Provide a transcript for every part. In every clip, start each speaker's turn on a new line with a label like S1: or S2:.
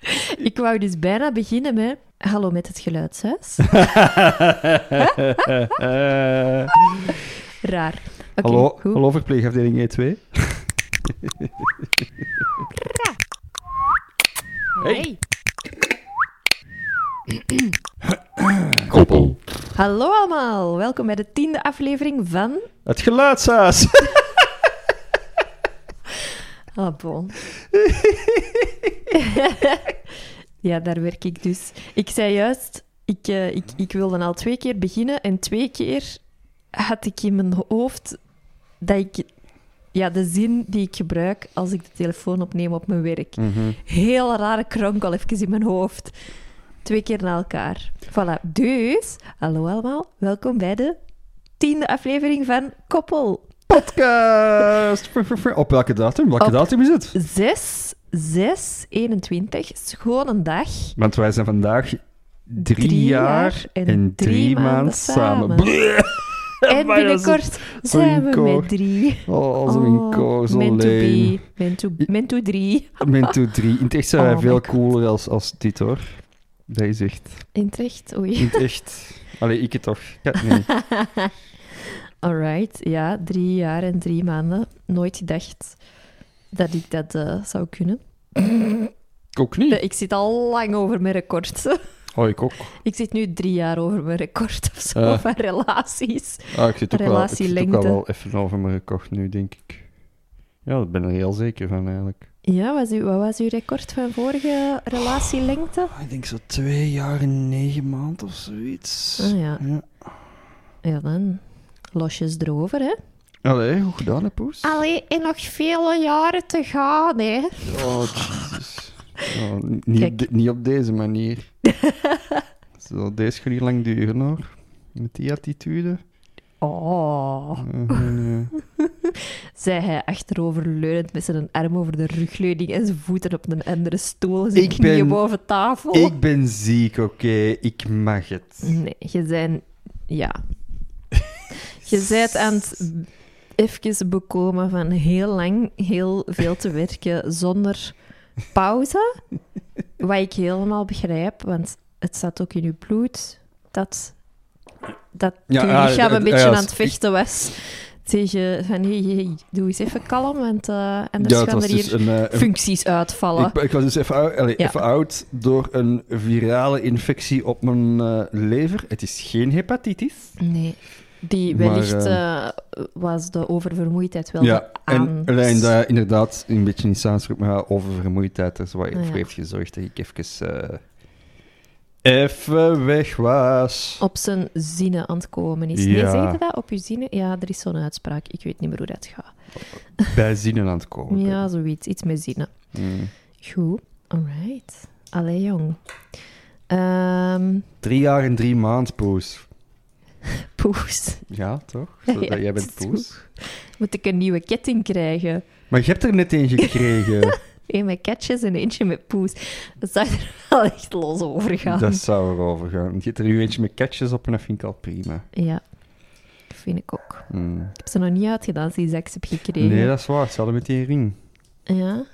S1: Ik wou dus bijna beginnen met... Hallo met het geluidshuis. Raar. Oké,
S2: hallo,
S1: goed.
S2: hallo verpleegafdeling E E2. Hey.
S3: Koppel.
S1: Hallo allemaal. Welkom bij de tiende aflevering van...
S2: Het geluidshuis.
S1: Ah, bon. ja, daar werk ik dus. Ik zei juist, ik, eh, ik, ik wilde al twee keer beginnen en twee keer had ik in mijn hoofd dat ik ja, de zin die ik gebruik als ik de telefoon opneem op mijn werk. Heel rare kronkel even in mijn hoofd. Twee keer na elkaar. Voilà. Dus, hallo allemaal, welkom bij de tiende aflevering van Koppel.
S2: Podcast. Fr- fr- fr- Op welke datum? Welke
S1: Op-
S2: datum is het?
S1: 6, 6, 21, schone dag.
S2: Want wij zijn vandaag drie,
S1: Drie
S2: jaar en, drie maanden, samen.
S1: En
S2: Maar ja,
S1: binnenkort
S2: zo
S1: zijn we
S2: inkoor.
S1: met drie.
S2: Oh, zo in koor, zo
S1: meant to
S2: leen.
S1: be, meant to, meant to drie.
S2: Mijn toe drie. In het echt zijn
S1: Oh
S2: wij
S1: my
S2: veel
S1: God.
S2: cooler als, als dit, hoor. Dat is echt...
S1: In Utrecht,
S2: In
S1: oei.
S2: het echt... Allee, ik het toch. Ja, nee.
S1: Alright, ja, drie jaar en drie maanden. Nooit gedacht dat ik dat eh, zou kunnen.
S2: Ook niet.
S1: Ik zit al lang over mijn record.
S2: Oh, ik ook.
S1: ik zit nu drie jaar over mijn record of zo
S2: Ah.
S1: van relaties.
S2: Ah, ik zit ook, wel, ik zit ook
S1: Relatielengte.
S2: al wel even over me gekocht nu, denk ik. Ja, daar ben ik heel zeker van, eigenlijk.
S1: Ja, was u, wat was uw record van vorige relatielengte?
S2: Ah, Ik denk zo twee jaar en negen maanden of zoiets.
S1: Ah, ja. Ja, dan losjes erover, hè.
S2: Allee, goed gedaan, hè, Poes?
S1: Allee, en nog vele jaren te gaan, hè.
S2: Oh, jezus. Oh, n- niet, op
S1: Kijk.
S2: de- niet op deze manier. Zo, deze gaat hier lang duren, hoor. Met die attitude.
S1: Oh.
S2: Eh, eh,
S1: Zei hij achteroverleunend met zijn arm over de rugleuning en zijn voeten op een andere stoel. Zijn
S2: Ik
S1: knieën
S2: ben-
S1: boven tafel.
S2: Ik ben ziek, oké. Ik mag het.
S1: Nee, je zijn... Ja. Je bent aan het even bekomen van heel lang heel veel te werken zonder pauze. Wat ik helemaal begrijp, want het zat ook in uw bloed dat, dat
S2: Ja,
S1: uw
S2: ja,
S1: lichaam
S2: ja,
S1: een beetje
S2: ja,
S1: aan
S2: ik-
S1: het vechten was. Tegen van, hey, hey, doe eens even kalm, want eh anders
S2: Ja, het
S1: gaan
S2: was
S1: er hier
S2: dus een, eh, een
S1: functies uitvallen.
S2: Ik, ik was dus even, ou- allee,
S1: Ja.
S2: even oud door een virale infectie op mijn eh, lever. Het is geen hepatitis.
S1: Nee, die
S2: Maar,
S1: wellicht eh, was de oververmoeidheid wel
S2: en
S1: aan. dus-
S2: alleen dat inderdaad een beetje in samenspraak met haar oververmoeidheid is wat
S1: Ah, ja.
S2: voor heeft gezorgd dat ik even, eh, even weg was.
S1: op zijn zinnen aan het komen is.
S2: Ja.
S1: Nee, zeg je dat? Op je zinnen? Ja, er is zo'n uitspraak. Ik weet niet meer hoe dat gaat.
S2: Bij zinnen aan het komen.
S1: Ja, zoiets. Iets met zinnen.
S2: Mm.
S1: Goed. Alright. Allee, jong. Ehm,
S2: Drie jaar en drie maanden, Poes.
S1: poes.
S2: Ja, toch? Zo,
S1: Ja,
S2: dat jij bent
S1: het is
S2: Poes.
S1: Moet ik een nieuwe ketting krijgen?
S2: Maar je hebt er net één gekregen.
S1: Eén met ketjes en eentje met poes. Dat zou er wel echt los over gaan.
S2: Dat zou erover gaan. Je hebt er nu eentje met catches op en dat vind ik al prima.
S1: Ja. Vind ik ook.
S2: Mm.
S1: Ik heb ze nog niet uitgedaan sinds ik ze heb gekregen.
S2: Nee, dat is waar. Hetzelfde met die ring.
S1: Ja.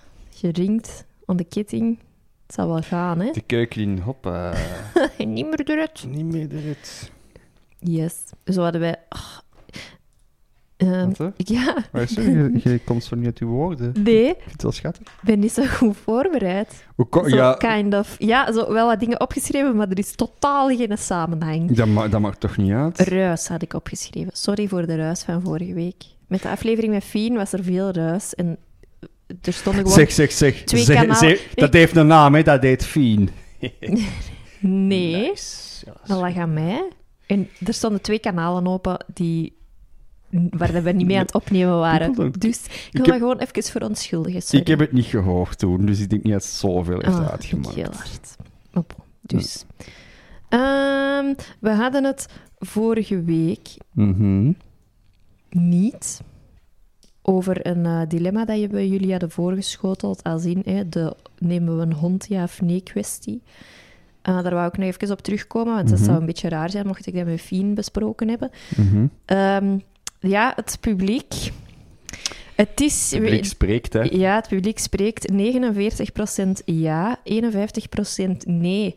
S1: Je ringt aan de ketting. Het zal wel gaan, hè?
S2: De keuken in, hoppa.
S1: niet meer eruit.
S2: Niet meer eruit.
S1: Yes. Zo hadden wij. ah. Ehm,
S2: Wat, hè?
S1: ja,
S2: Maar sorry, je, je komt zo niet uit je woorden.
S1: nee,
S2: Ik vind het wel schattig.
S1: ik ben niet zo goed voorbereid.
S2: Hoe ko-
S1: Zo
S2: ja,
S1: kind of. Ja, zo wel wat dingen opgeschreven, maar er is totaal geen samenhang.
S2: dat, ma dat maakt toch niet uit?
S1: Ruis had ik opgeschreven. Sorry voor de ruis van vorige week. Met de aflevering met Fien was er veel ruis en er stonden gewoon...
S2: Zeg, zeg, zeg.
S1: Twee
S2: Zeg-
S1: kanalen.
S2: zeg- dat heeft een naam, hè. Dat deed Fien.
S1: nee,
S2: Nice. Ja,
S1: dat lag aan mij. En er stonden twee kanalen open die... waar we niet mee aan het opnemen waren.
S2: People don't-
S1: Dus ik wil
S2: heb-
S1: me gewoon even verontschuldigen. Sorry.
S2: Ik heb het niet gehoord toen, dus ik denk niet dat het zoveel heeft
S1: Ah,
S2: uitgemaakt.
S1: Heel hard. Maar bon, dus. Ehm, we hadden het vorige week
S2: Mhm.
S1: niet over een eh, dilemma dat je bij jullie hadden voorgeschoteld. Als in hè, de nemen we een hond ja of nee kwestie. Eh, daar wou ik nog even op terugkomen, want dat
S2: Mhm.
S1: zou een beetje raar zijn mocht ik dat met Fien besproken hebben.
S2: mhm.
S1: Ehm, ja, het publiek. Het is...
S2: Het publiek spreekt, hè.
S1: Ja, het publiek spreekt 49% ja, 51% nee.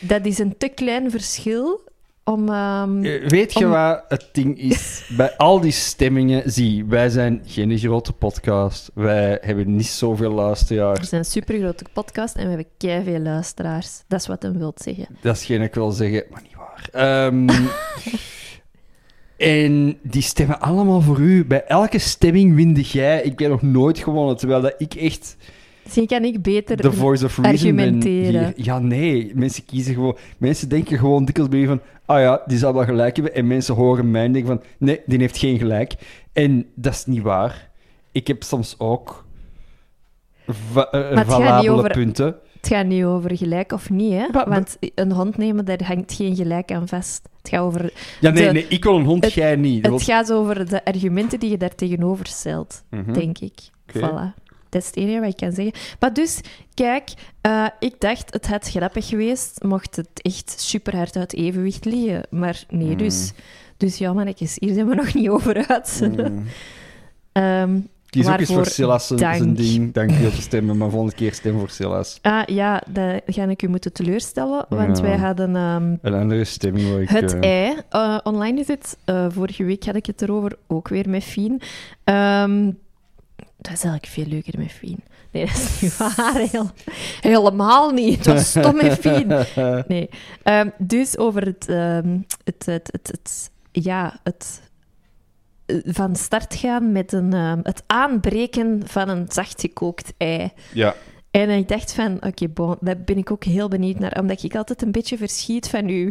S1: Dat is een te klein verschil om... ehm,
S2: Eh, Weet je
S1: Om-
S2: wat het ding is? Bij al die stemmingen, zie, wij zijn geen grote podcast. Wij hebben niet zoveel
S1: we
S2: luisteraars.
S1: zijn een supergrote podcast en we hebben keiveel luisteraars. Dat is wat hem wil zeggen.
S2: Dat is geen ik wil zeggen, maar niet waar. Ehm, en die stemmen allemaal voor u. Bij elke stemming winde jij. Ik ben nog nooit gewonnen, terwijl dat ik echt
S1: Misschien kan ik beter...
S2: de voice of reason ben
S1: argumenteren.
S2: hier. Ja, nee. Mensen kiezen gewoon... Mensen denken gewoon dikwijls bij je van... Ah ja, die zal wel gelijk hebben. En mensen horen mij en denken van... Nee, die heeft geen gelijk. En dat is niet waar. Ik heb soms ook... va- eh,
S1: gaat niet
S2: valabele
S1: over-
S2: punten.
S1: Het gaat niet over gelijk of niet, hè?
S2: Maar-
S1: Want een hond nemen, daar hangt geen gelijk aan vast. Het gaat over,
S2: Ja, nee,
S1: de-
S2: nee. Ik wil een hond,
S1: het-
S2: jij niet.
S1: het gaat over de argumenten die je daar tegenover stelt,
S2: Mhm.
S1: denk ik.
S2: Oké.
S1: Voilà. Dat is het enige wat ik kan zeggen. Maar dus, kijk, eh, ik dacht het had grappig geweest mocht het echt super hard uit evenwicht liggen. Maar nee,
S2: Hmm.
S1: dus. Dus ja, mannetjes, hier zijn we nog niet over uit.
S2: Hmm.
S4: Mm.
S1: Ehm,
S2: Kies ook eens voor
S1: Waarvoor
S2: Silas zijn- zijn
S1: dank.
S2: ding. Dank je wel voor stemmen, maar volgende keer stem voor Silas.
S1: ah ja, dat ga ik u moeten teleurstellen, want
S2: Ja.
S1: wij hadden... ehm,
S2: Een andere stemming waar ik...
S1: Het
S2: eh,
S1: ei. eh, online is het. eh, vorige week had ik het erover, ook weer met Fien. Ehm, dat is eigenlijk veel leuker met Fien. Nee, dat is niet waar. Heel, helemaal niet. Dat is stom met Fien. Nee. Ehm, dus over het, ehm, het, het, het, het- ja, het eh, van start gaan met een, ehm, het aanbreken van een zachtgekookt ei.
S2: Ja.
S1: En ik dacht van, oké, bon, daar ben ik ook heel benieuwd naar. Omdat ik altijd een beetje verschiet van uw...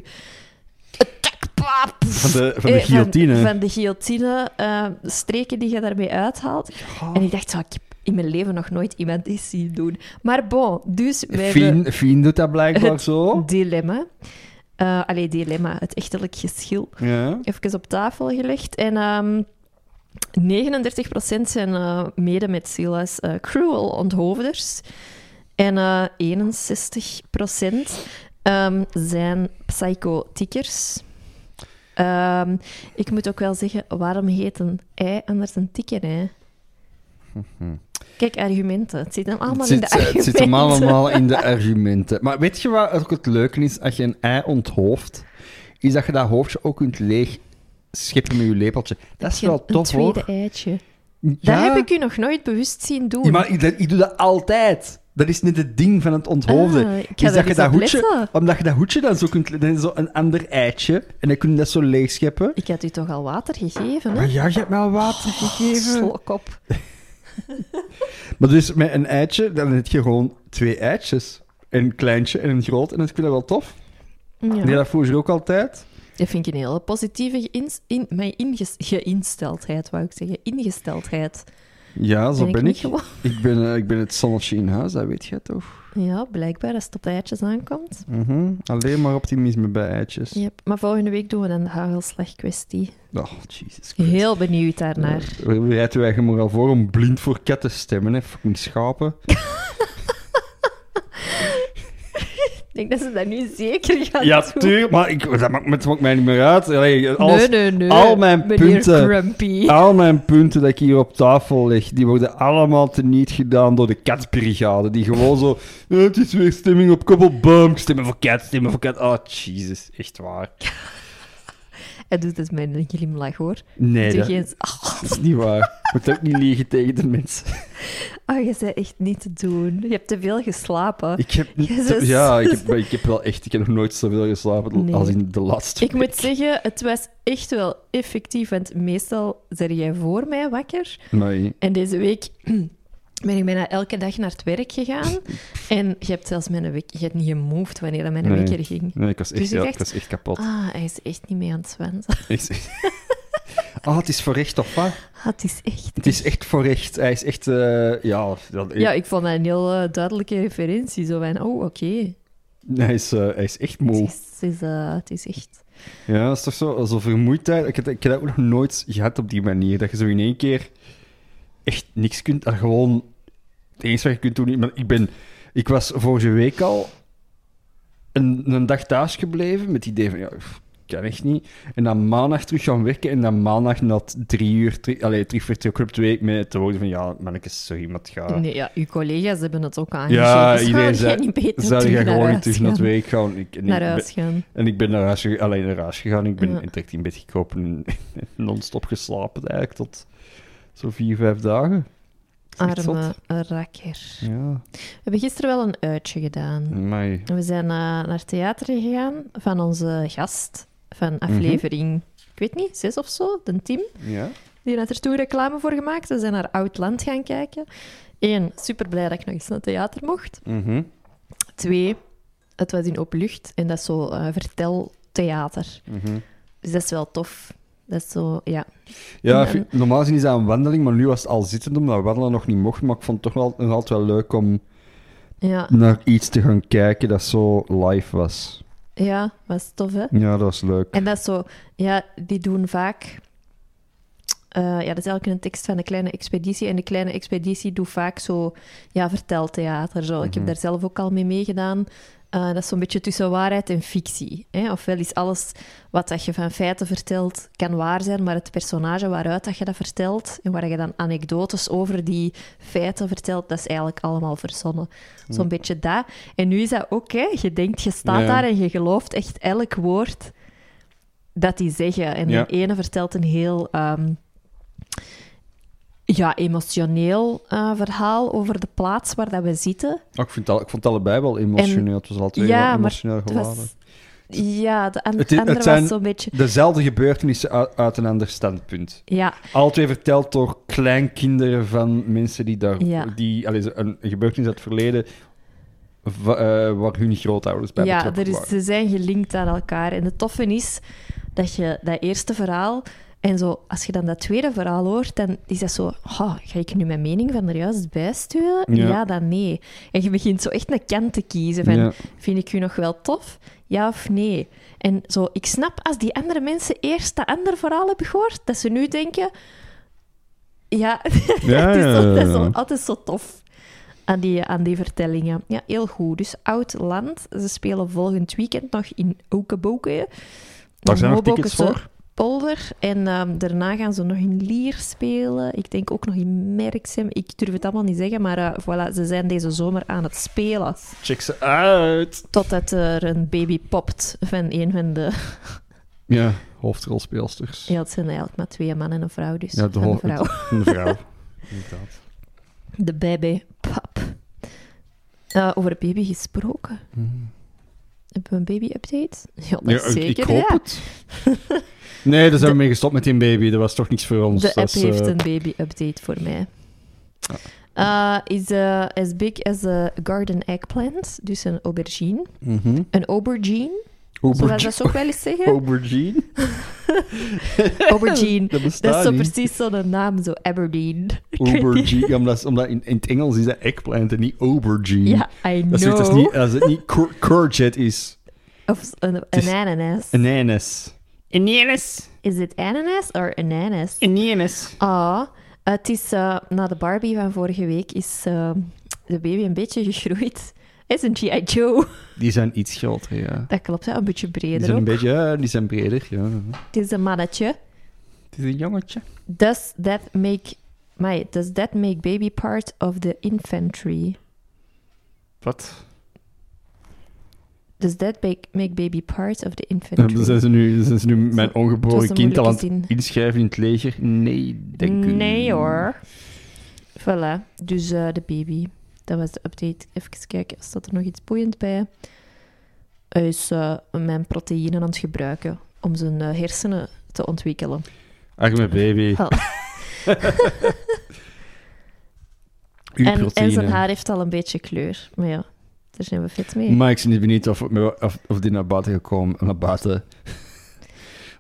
S2: Van de, van de
S1: Eh,
S2: guillotine.
S1: Van, de guillotine, eh, streken die je daarmee uithaalt.
S2: Oh.
S1: En ik dacht, zo, ik heb in mijn leven nog nooit iemand iets zien doen. Maar bon, dus wij hebben
S2: Fien, Fien doet dat blijkbaar zo.
S1: dilemma. Eh allee, dilemma, het echtelijk geschil.
S2: Ja.
S1: Even op tafel gelegd. En ehm 39% zijn eh, mede met Silas eh, cruel onthoofders. En eh 61% ehm, zijn psycho-tikkers. Ehm, ik moet ook wel zeggen, waarom heet een ei anders een tikker, hè? Kijk, argumenten. Het zit hem allemaal
S2: Het
S1: in de
S2: zit, eh,
S1: argumenten.
S2: het zit hem allemaal in de argumenten. Maar weet je wat ook het leuke is? Als je een ei onthoofdt, is dat je dat hoofdje ook kunt leeg scheppen met je lepeltje. Dat is
S1: Geen-
S2: wel tof,
S1: Een tweede
S2: hoor.
S1: eitje.
S2: Ja.
S1: Dat heb ik u nog nooit bewust zien doen.
S2: Ja, maar ik, dat- ik doe dat altijd. Dat is niet het ding van het onthoofden.
S1: Ah, ik ga daar
S2: is dat je
S1: eens
S2: dat
S1: op
S2: hoedje,
S1: letten.
S2: omdat je dat hoedje dan zo kunt, dan is zo een ander eitje en dan kun je dat zo leegscheppen.
S1: Ik had u toch al water gegeven, hè?
S2: Maar ja, je hebt mij al water gegeven.
S1: Oh, Slok op.
S2: Maar dus met een eitje, dan heb je gewoon twee eitjes. Een kleintje en een groot. En dat vind ik wel tof.
S1: Ja.
S2: Die dat voer je ook altijd.
S1: Dat vind ik een hele positieve geïns- in, mijn inges- geïnsteldheid, wou ik zeggen. Ingesteldheid.
S2: Ja, zo
S1: Ben ik
S2: ben
S1: niet
S2: ik.
S1: gewoon?
S2: Ik ben, eh, ik ben het zonnetje in huis, dat weet je toch?
S1: Ja, blijkbaar, als het op de eitjes aankomt.
S2: Mhm. Alleen maar optimisme bij eitjes.
S1: Yep. Maar volgende week doen we dan de hagelslagkwestie.
S2: Oh, Jesus Christ.
S1: Heel benieuwd daarnaar.
S2: Eh, We rijden wij gewoon al voor om blind voor kat te stemmen, hè? Fucking schapen.
S1: Ik denk dat ze dat nu zeker gaan
S2: Ja,
S1: doen.
S2: tuurlijk, maar ik, dat, maakt, dat maakt mij niet meer uit. Allee, alles,
S1: nee, nee, nee.
S2: al mijn
S1: meneer
S2: punten.
S1: Grumpy.
S2: Al mijn punten dat ik hier op tafel leg, die worden allemaal teniet gedaan door de katbrigade. Die gewoon zo, "Eh, het is weer stemming op koppelboom, stemmen voor kat, stemmen voor kat. Oh, Jesus, echt waar.
S1: Hij doet het met een glimlach, hoor.
S2: Nee,
S1: Doe
S2: dat
S1: geen... Ah,
S2: is niet waar. Je moet ook niet liegen tegen de mensen.
S1: ah, je bent echt niet te doen. Je hebt te veel geslapen.
S2: Ik heb, niet-
S1: Jezus.
S2: ja, ik heb, ik heb wel echt, ik heb nog nooit zoveel geslapen
S1: Nee.
S2: als in de laatste
S1: Ik moet zeggen, het was echt wel effectief, want meestal zeg jij voor mij wakker.
S2: Nee.
S1: En deze week ben ik bijna elke dag naar het werk gegaan. En je hebt zelfs mijn wek- je hebt niet gemoved wanneer dat mijn
S2: Nee.
S1: wekker ging.
S2: Nee, ik was echt,
S1: Dus je
S2: ja,
S1: zegt-
S2: ik was echt kapot.
S1: Ah, hij is echt niet mee aan het zwansen.
S2: Echt- Ah, het is voor recht, of wat?
S1: Ah, het is echt...
S2: Het is echt voor recht. Hij is echt, eh, ja... dat-
S1: Ja, ik vond dat een heel eh, duidelijke referentie. Zo van, oh, oké.
S2: Hij is, eh, hij is echt
S1: Het,
S2: moe.
S1: is, het is, eh, het is echt...
S2: Ja, dat is toch zo? Zo vermoeidheid. Ik heb, ik heb dat ook nog nooit gehad op die manier. Dat je zo in één keer echt niks kunt. Dat gewoon... Het enige wat je kunt doen... Maar ik, ben, ik was vorige week al een, een dag thuis gebleven met het idee van... Ja, pff, kan echt niet. En dan maandag terug gaan werken en dan maandag na het drie uur ter- allee, terug vertrek club 2 met te worden van ja, mannetjes, sorry, maar het gaat...
S1: Nee, ja, uw collega's hebben het ook aangezien.
S2: Ja,
S1: dus
S2: iedereen
S1: zou
S2: zei,
S1: jij niet beter
S2: zou
S1: terug
S2: je
S1: naar
S2: gewoon niet
S1: huis
S2: terug naar het
S1: gaan?
S2: werk gaan? Ik, en, ik
S1: Naar
S2: ben-
S1: huis gaan.
S2: en ik ben naar huis, ge- alleen naar huis gegaan. Ik ben
S1: Ja.
S2: direct in bed gekropen en non-stop geslapen eigenlijk tot zo'n vier, vijf dagen. Dat is echt zot.
S1: Arme rakker.
S2: Ja,
S1: We hebben gisteren wel een uitje gedaan.
S2: mij.
S1: We zijn eh, naar het theater gegaan van onze gast van aflevering, ik weet niet, zes of zo, de team.
S2: Ja.
S1: Die had er toen reclame voor gemaakt. We zijn naar Oud Land gaan kijken. Eén, super blij dat ik nog eens naar het theater mocht.
S2: Mhm.
S1: Twee, het was in openlucht en dat is zo eh, verteltheater.
S2: Mhm.
S1: Dus dat is wel tof. Dat is zo, ja.
S2: Ja,
S1: En-
S2: vind- normaal gezien is dat een wandeling, maar nu was het al zittend omdat wandelen nog niet mocht. Maar ik vond het toch wel, nog altijd wel leuk om
S1: Ja,
S2: naar iets te gaan kijken dat zo live was.
S1: ja, was tof, hè?
S2: Ja, dat was leuk.
S1: En dat is zo, ja, die doen vaak. eh, ja, dat is elke een tekst van de kleine expeditie. En de kleine expeditie doet vaak zo, ja, verteltheater. Zo. Ik heb daar zelf ook al mee meegedaan. Eh, dat is zo'n beetje tussen waarheid en fictie. Hè? Ofwel is alles wat dat je van feiten vertelt, kan waar zijn, maar het personage waaruit dat je dat vertelt en waar je dan anekdotes over die feiten vertelt, dat is eigenlijk allemaal verzonnen. Zo'n beetje dat. En nu is dat ook, hè? je denkt, je staat
S2: Ja.
S1: daar en je gelooft echt elk woord dat die zeggen. En
S2: Ja.
S1: de ene vertelt een heel ehm, ja, emotioneel eh, verhaal over de plaats waar dat we zitten.
S2: Ah, ik, vind het al- ik vond het allebei wel emotioneel. het was altijd
S1: Ja,
S2: wel
S1: maar
S2: emotioneel
S1: Het
S2: geladen.
S1: was, ja, de an-
S2: Het is- het
S1: andere
S2: zijn-
S1: was zo'n beetje...
S2: Dezelfde gebeurtenissen uit, uit een ander standpunt.
S1: Ja,
S2: Alle twee verteld door kleinkinderen van mensen die daar...
S1: Ja.
S2: Die, allee, een gebeurtenis uit het verleden wa- eh, waar hun grootouders bij
S1: ja
S2: betrokken
S1: er is,
S2: waren.
S1: ze zijn gelinkt aan elkaar. En het toffe is dat je dat eerste verhaal... En zo, als je dan dat tweede verhaal hoort, dan is dat zo... "Ha, ga ik nu mijn mening van er juist bij sturen?
S2: Ja.
S1: Ja, dan nee. En je begint zo echt een kant te kiezen. Van,
S2: Ja.
S1: Vind ik u nog wel tof? Ja of nee? En zo, ik snap als die andere mensen eerst dat andere verhaal hebben gehoord, dat ze nu denken... Ja,
S2: Ja,
S1: het is,
S2: ja, ja,
S1: altijd,
S2: ja.
S1: zo, altijd zo tof aan die, aan die vertellingen. Ja, heel goed. Dus Oud Land, ze spelen volgend weekend nog in Oekeboeke.
S2: Daar zijn nog
S1: Hoboken
S2: tickets
S1: te
S2: voor.
S1: Polder. En ehm, daarna gaan ze nog in Lier spelen. Ik denk ook nog in Merksem. Ik durf het allemaal niet zeggen, maar eh, voilà, ze zijn deze zomer aan het spelen.
S2: Check ze uit.
S1: Totdat er een baby popt van een van de...
S2: Ja, hoofdrolspeelsters.
S1: Ja, het zijn eigenlijk maar twee, een man en een vrouw. Dus
S2: Ja, de
S1: Een
S2: ho-
S1: vrouw.
S2: Een vrouw. Inderdaad.
S1: De baby pap. Eh, over de baby gesproken. Hebben we een baby-update? Ja, dat
S2: Mhm. Ja,
S1: is
S2: ik-
S1: zeker,
S2: ik hoop
S1: ja.
S2: het. Nee, daar zijn we mee gestopt met die baby. Dat was toch niks voor ons.
S1: De app
S2: Dat is, eh,
S1: heeft een baby-update voor mij. Eh, is eh, as big as a garden eggplant, dus een aubergine.
S2: mhm.
S1: Een aubergine, zoals
S2: Aubergine.
S1: dat ze ook wel eens zeggen.
S2: Aubergine?
S1: Aubergine.
S2: Dat bestaat
S1: Dat is zo
S2: niet.
S1: precies zo'n naam, zo Aberdeen. Ik weet niet.
S2: Aubergine. Ja, omdat, omdat in, in het Engels is dat eggplant en niet aubergine.
S1: Ja, I know.
S2: Dat is, dat is niet, als het niet cour- courgette is,
S1: Of een,
S2: is-
S1: een ananas.
S2: ananas. Ananas.
S1: Is het ananas of ananas?
S2: Ananas.
S1: Ah, het is eh, na de Barbie van vorige week is eh, de baby een beetje gegroeid. Hij is een G.I. Joe.
S2: Die zijn iets groter, ja.
S1: Dat klopt, hè? een beetje breder
S2: Die zijn een
S1: ook.
S2: beetje, ja, die zijn breder, ja.
S1: Het is een mannetje.
S2: Het is een jongetje.
S1: Does that make... My, does that make baby part of the infantry?
S2: Wat?
S1: Does that make, make baby part of the infantry?
S2: Dan zijn ze nu, zijn ze nu mijn
S1: Het was
S2: ongeboren
S1: een
S2: kind al aan
S1: moeilijke
S2: het inschrijven in het leger? Nee, denk ik.
S1: Nee hoor. Voilà, dus eh, de baby. Dat was de update. Even kijken, staat er nog iets boeiend bij? Hij is eh, mijn proteïnen aan het gebruiken om zijn eh, hersenen te ontwikkelen.
S2: Arme baby.
S1: Wel.
S2: Uw
S1: En, en zijn
S2: proteïne.
S1: haar heeft al een beetje kleur. Maar ja, daar zijn we fit mee.
S2: Maar ik ben niet benieuwd of, of, of die naar buiten gekomen. Naar buiten.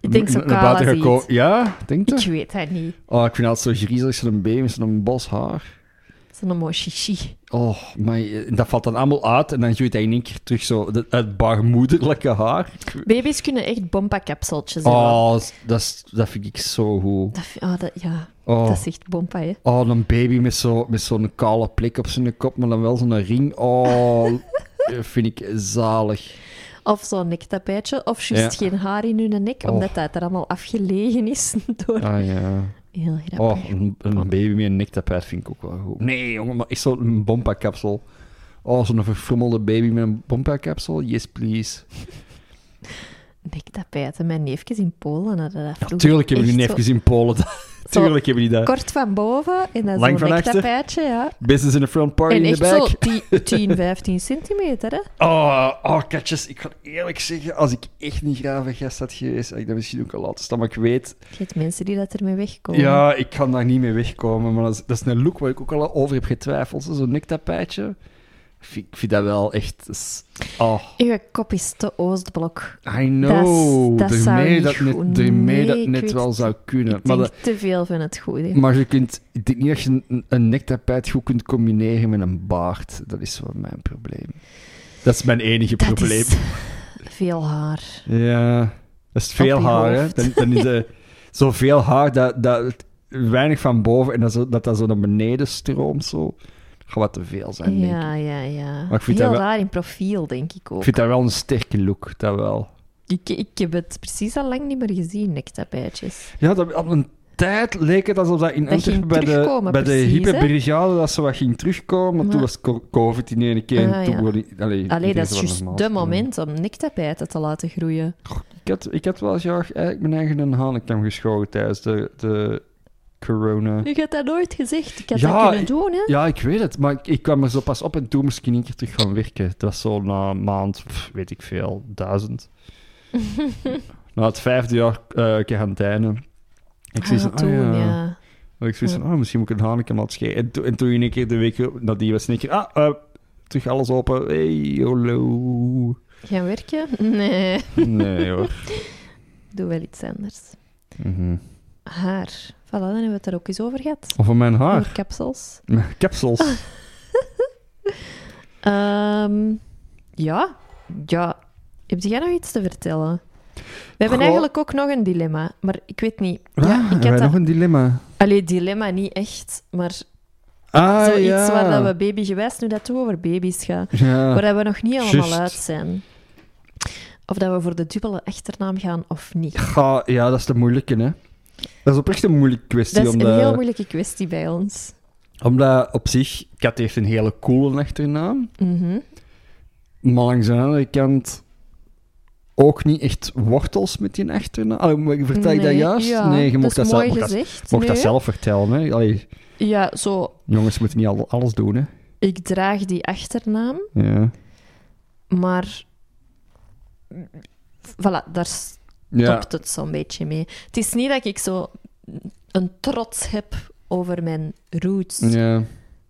S1: ik denk zo
S2: Naar buiten
S1: kaal als
S2: geko-
S1: iets.
S2: Ja, denk je?
S1: Ik weet het niet.
S2: Oh, ik vind het zo griezelig. Zo'n baby, zo'n bos haar.
S1: Het is een mooi chichi.
S2: Oh, maar dat valt dan allemaal uit en dan groeit hij in één keer terug zo dat- het baarmoederlijke haar.
S1: Baby's kunnen echt bompakapseltjes hebben.
S2: Oh, dat, is- dat vind ik zo goed.
S1: Dat, vind- ah, dat, ja,
S2: Oh.
S1: dat is echt bompa, hè.
S2: Oh, een baby met zo'n met zo'n kale plek op zijn kop, maar dan wel zo'n ring. Oh, eh, vind ik zalig.
S1: Of zo'n nektapijtje. Of juist geen haar in hun nek,
S2: Oh.
S1: omdat dat er allemaal afgelegen is. Door...
S4: Ah ja.
S1: Heel grappig.
S2: Oh, een, een baby met een nektapijt vind ik ook wel goed. Nee, jongen, maar is zo'n bompa-kapsel. Oh, zo'n verfrommelde baby met een bompa-kapsel? Yes, please.
S1: Nektapijten. Mijn neefjes in Polen hadden dat vroeger
S2: Natuurlijk hebben die
S1: echt
S2: neefjes in Polen dat.
S1: zo
S2: Tuurlijk hebben die
S1: zo
S2: dat.
S1: Kort van boven en dan
S2: Lang
S1: zo'n
S2: van achter.
S1: nektapijtje, ja.
S2: Business in the front, party
S1: En
S2: in the
S1: echt
S2: back.
S1: zo 10, 10, 15 centimeter, hè.
S2: Oh, oh, katjes, ik ga eerlijk zeggen, als ik echt niet graag een gast had geweest, had ik dat misschien ook al laten staan, maar ik weet...
S1: Je hebt mensen die dat ermee wegkomen.
S2: Ja, ik kan daar niet mee wegkomen, maar dat is, dat is een look waar ik ook al over heb getwijfeld. zo, Zo'n nektapijtje. Ik vind- ik vind dat wel echt... dat is- Oh,
S1: Uw kop is te Oostblok.
S2: I
S1: Dat
S2: know.
S1: is- dat zou
S2: daarmee
S1: niet
S2: dat
S1: goed-
S2: net, daarmee
S1: nee,
S2: dat
S1: ik
S2: net
S1: weet
S2: wel
S1: het.
S2: zou kunnen.
S1: Ik
S2: Maar,
S1: denk
S2: dat-
S1: te veel van het goede.
S2: maar je kunt... Ik denk niet dat je een, een nektapijt goed kunt combineren met een baard. Dat is wel mijn probleem. Dat is mijn enige
S1: dat
S2: probleem.
S1: is veel haar.
S2: Ja, dat is veel
S1: Op je
S2: haar, hè.
S1: hoofd.
S2: Dan, dan is er zoveel haar dat, dat het weinig van boven en dat zo, dat, dat zo naar beneden stroomt. Zo. Dat gaat wat te veel zijn, denk ik.
S1: Ja, ja, ja.
S2: Maar ik vind
S1: Heel
S2: dat wel-
S1: raar in profiel, denk ik ook.
S2: Ik vind dat wel een sterke look, dat wel.
S1: Ik, ik heb het precies al lang niet meer gezien, nektapijtjes.
S2: Ja, dat, op een tijd leek het alsof dat in
S1: Dat
S2: Antwerpen
S1: ging
S2: bij de,
S1: terugkomen,
S2: bij de
S1: precies,
S2: hippe
S1: hè?
S2: brigade dat ze wat ging terugkomen. Maar
S1: Ja.
S2: toen was co- COVID in één keer. en
S1: Ah,
S2: toen
S1: ja.
S2: worden- allee,
S1: Allee,
S2: iedereen
S1: dat is
S2: zo
S1: juist
S2: normaal
S1: de
S2: spelen.
S1: moment om nektapijten te laten groeien.
S2: Ik had, ik had wel graag eigenlijk mijn eigen hanenkam geschoren tijdens de, de corona.
S1: Je hebt dat nooit gezegd. Ik had
S2: Ja,
S1: dat kunnen
S2: ik-
S1: doen, hè.
S2: Ja, ik weet het, maar ik, ik kwam er zo pas op en toen moest ik in één keer terug gaan werken. Dat was zo na een maand, pff, weet ik veel, duizend. na het vijfde jaar eh quarantaine. Ik
S1: Ah,
S2: zoiets van,
S1: toen,
S2: ah, ja.
S1: ja.
S2: Ik zoiets van, ah, misschien moet ik een haneke laten scheren. En, toen- en toen in één keer de week nadien was in één keer, ah, eh, terug alles open. Hey, hallo.
S1: Gaan werken? Nee.
S2: Nee hoor.
S1: Doe wel iets anders.
S2: Mhm.
S1: Haar. Voilà, dan hebben we het er ook eens over gehad.
S2: Of van mijn haar.
S1: Over kapsels.
S2: Kapsels.
S1: Ehm, ja. Ja. Heb jij nog iets te vertellen? We hebben
S2: Goh.
S1: eigenlijk ook nog een dilemma, maar ik weet niet.
S2: Ah,
S1: Ja, ik
S2: wij
S1: had dat...
S2: nog een dilemma.
S1: Allee, dilemma niet echt, maar
S2: Ah,
S1: zoiets
S2: ja.
S1: waar dat we babygewijs nu dat toe over baby's gaan.
S2: Ja.
S1: Waar dat we nog niet allemaal
S2: Juist.
S1: uit zijn. Of dat we voor de dubbele achternaam gaan of niet.
S2: Ga- ja, dat is de moeilijke, hè. Dat is oprecht een moeilijke kwestie.
S1: Dat is een
S2: omdat,
S1: heel moeilijke kwestie bij ons.
S2: omdat op zich, Kat heeft een hele coole achternaam.
S1: Mhm.
S2: Maar langs de andere kant ook niet echt wortels met die achternaam. Allee, maar vertel ik dat
S1: Nee,
S2: juist?
S1: ja,
S2: nee, je
S1: dat
S2: mocht dat,
S1: is
S2: zelf,
S1: mooi
S2: mocht dat,
S1: gezegd.
S2: mocht dat
S1: nee.
S2: zelf vertellen. Hè? Allee,
S1: Ja, zo.
S2: jongens moeten niet al- alles doen, hè.
S1: Ik draag die achternaam,
S2: Ja.
S1: maar. Voilà, daar stopt
S2: Ja.
S1: het zo'n beetje mee. Het is niet dat ik zo een trots heb over mijn roots.
S2: Ja.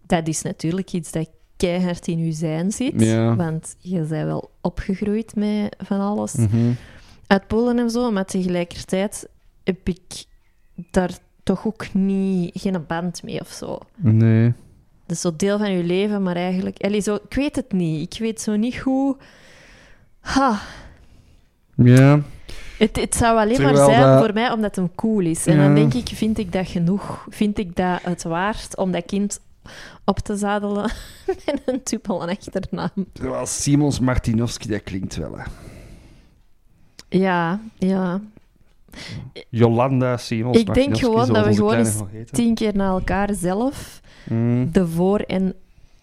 S1: Dat is natuurlijk iets dat keihard in uw zijn zit.
S2: Ja.
S1: Want je bent wel opgegroeid met van alles.
S2: mhm.
S1: Uit Polen en zo, maar tegelijkertijd heb ik daar toch ook niet, geen band mee of zo.
S2: Nee.
S1: Dat is zo deel van je leven, maar eigenlijk... Allee, zo, ik weet het niet. Ik weet zo niet hoe... Ha,
S2: Ja.
S1: het, het zou alleen maar
S2: Terwijl
S1: zijn
S2: dat-
S1: voor mij omdat hem cool is. En
S2: Ja.
S1: dan denk ik, vind ik dat genoeg? Vind ik dat het waard om dat kind op te zadelen met een dubbele achternaam?
S2: Terwijl Simons Martinovski, dat klinkt wel, hè.
S1: Ja, ja.
S2: Jolanda Simons
S1: Ik denk
S2: Martinovski,
S1: gewoon
S2: zoals
S1: dat we
S2: onze
S1: gewoon
S2: kleine
S1: eens
S2: wel heet, hè.
S1: Tien keer na elkaar zelf
S2: Mm,
S1: de voor- en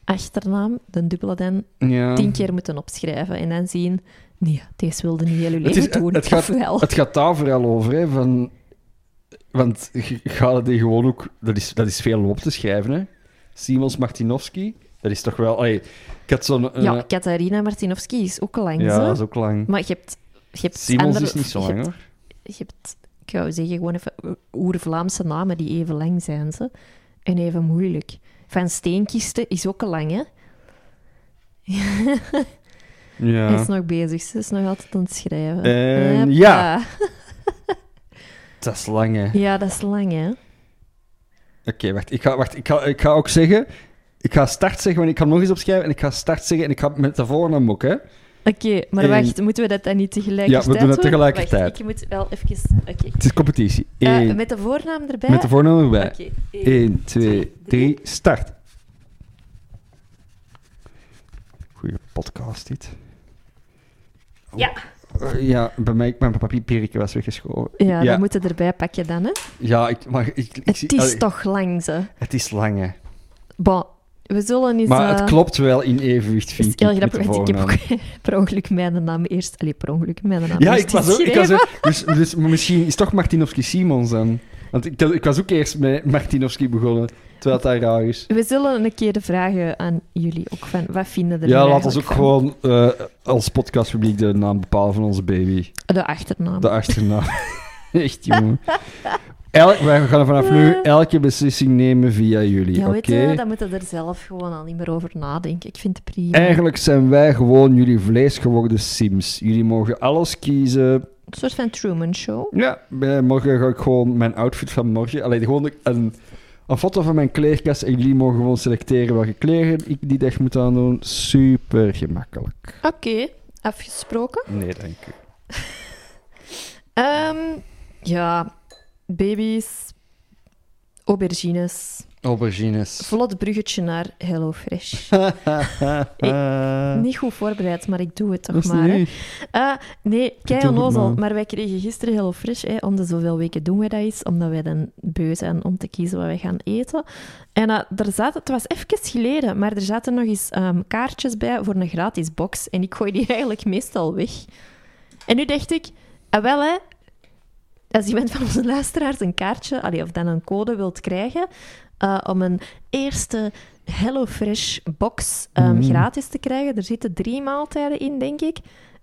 S1: achternaam, de dubbele dan,
S2: ja.
S1: tien keer moeten opschrijven. En dan zien, nee, deze wilde niet heel je
S2: Het
S1: leven
S2: is-
S1: doen.
S2: het gaat-
S1: of wel.
S2: Het gaat daar vooral over, hè, van... Want je gaat het hier gewoon ook... Dat is, dat is veel om op te schrijven, hè. Simons Martinovski, dat is toch wel... allee, ik had zo'n... eh,
S1: Ja, Katarina Martinovski is ook lang.
S2: ja,
S1: zo.
S2: dat is ook lang.
S1: Maar je hebt, je hebt
S2: Simons
S1: andere-
S2: is niet zo
S1: je
S2: lang,
S1: hebt-
S2: hoor.
S1: Je hebt, ik wou zeggen, gewoon even eh, oer-Vlaamse namen die even lang zijn ze. En even moeilijk. Van Steenkisten is ook lang, hè? Hij
S2: Ja.
S1: is nog bezig, ze is nog altijd aan het schrijven.
S2: En
S1: Hoppa.
S2: ja. Dat is lang, hè. Oké,
S1: Ja, dat is lang, hè?
S2: wacht. Ik ga, wacht ik, ga, ik ga ook zeggen... Ik ga start zeggen, want ik ga hem nog eens opschrijven. En ik ga start zeggen en ik ga met de voornaam ook, hè.
S1: Oké, maar
S2: En-
S1: wacht, moeten we dat dan niet tegelijkertijd
S2: Ja, we doen dat
S1: doen?
S2: tegelijkertijd.
S1: Wacht, ik moet wel even... Oké.
S2: Het is competitie.
S1: Eh,
S2: Eén,
S1: met de voornaam erbij?
S2: met de voornaam erbij.
S1: Oké. één.
S2: 1, 2,
S1: drie.
S2: 3, start. Goeie podcast dit.
S1: Ja.
S2: Eh, ja, bij mij, mijn papierpierke was weggeschoven.
S1: Ja,
S2: Ja.
S1: dat moet je erbij pakken dan, hè.
S2: Ja, ik, maar ik, ik
S1: Het
S2: zie-
S1: is
S2: allee,
S1: toch lang, ze.
S2: het is lang, hè.
S1: Bon, we zullen eens...
S2: Maar
S1: eh,
S2: het klopt wel in evenwicht,
S1: is
S2: vind ik.
S1: heel
S2: met de
S1: grappig, want ik heb
S2: voornaam.
S1: ook per ongeluk mijn naam eerst... Allee, per ongeluk mijn naam
S2: Ja,
S1: eerst
S2: ik was ook... Ik was
S1: geschreven.
S2: ook dus, dus misschien is toch Martinovski Simons dan. Want ik, ik was ook eerst met Martinovski begonnen, terwijl het daar raar is.
S1: We zullen een keer de vragen aan jullie ook van... Wat vinden er
S2: Ja,
S1: nu
S2: laat ons ook
S1: eigenlijk van?
S2: gewoon eh, als podcastpubliek de naam bepalen van onze baby.
S1: De achternaam.
S2: De achternaam. Echt, jongen. Elk, wij gaan vanaf nu elke beslissing nemen via jullie,
S1: Eh. ja,
S2: oké?
S1: weet je, dan moeten we er zelf gewoon al niet meer over nadenken. Ik vind het prima.
S2: Eigenlijk zijn wij gewoon jullie vlees geworden sims. Jullie mogen alles kiezen.
S1: Een soort van Truman Show.
S2: Ja, bij morgen ga ik gewoon mijn outfit van morgen... Allee, gewoon een, een foto van mijn kleerkast en jullie mogen gewoon selecteren welke kleren ik die dag moet aandoen. Super gemakkelijk.
S1: Oké, afgesproken.
S2: Nee, dank u.
S1: Ehm, ja, baby's, aubergines.
S2: Aubergines.
S1: Vlot bruggetje naar HelloFresh. Niet goed voorbereid, maar ik doe het toch
S2: Dat is
S1: maar.
S2: niet
S1: hè.
S2: erg.
S1: Ah, nee, kei
S2: Doe het
S1: onnozel.
S2: maar.
S1: Maar wij kregen gisteren heel fris. Hè, om de zoveel weken doen we dat eens. Omdat wij dan beu zijn om te kiezen wat wij gaan eten. En eh er zaten, het was even geleden, maar er zaten nog eens ehm, kaartjes bij voor een gratis box. En ik gooi die eigenlijk meestal weg. En nu dacht ik, ah wel hè, als iemand van onze luisteraars een kaartje, allee, of dan een code wilt krijgen, eh, om een eerste HelloFresh box ehm,
S2: Mm.
S1: gratis te krijgen, er zitten drie maaltijden in, denk ik.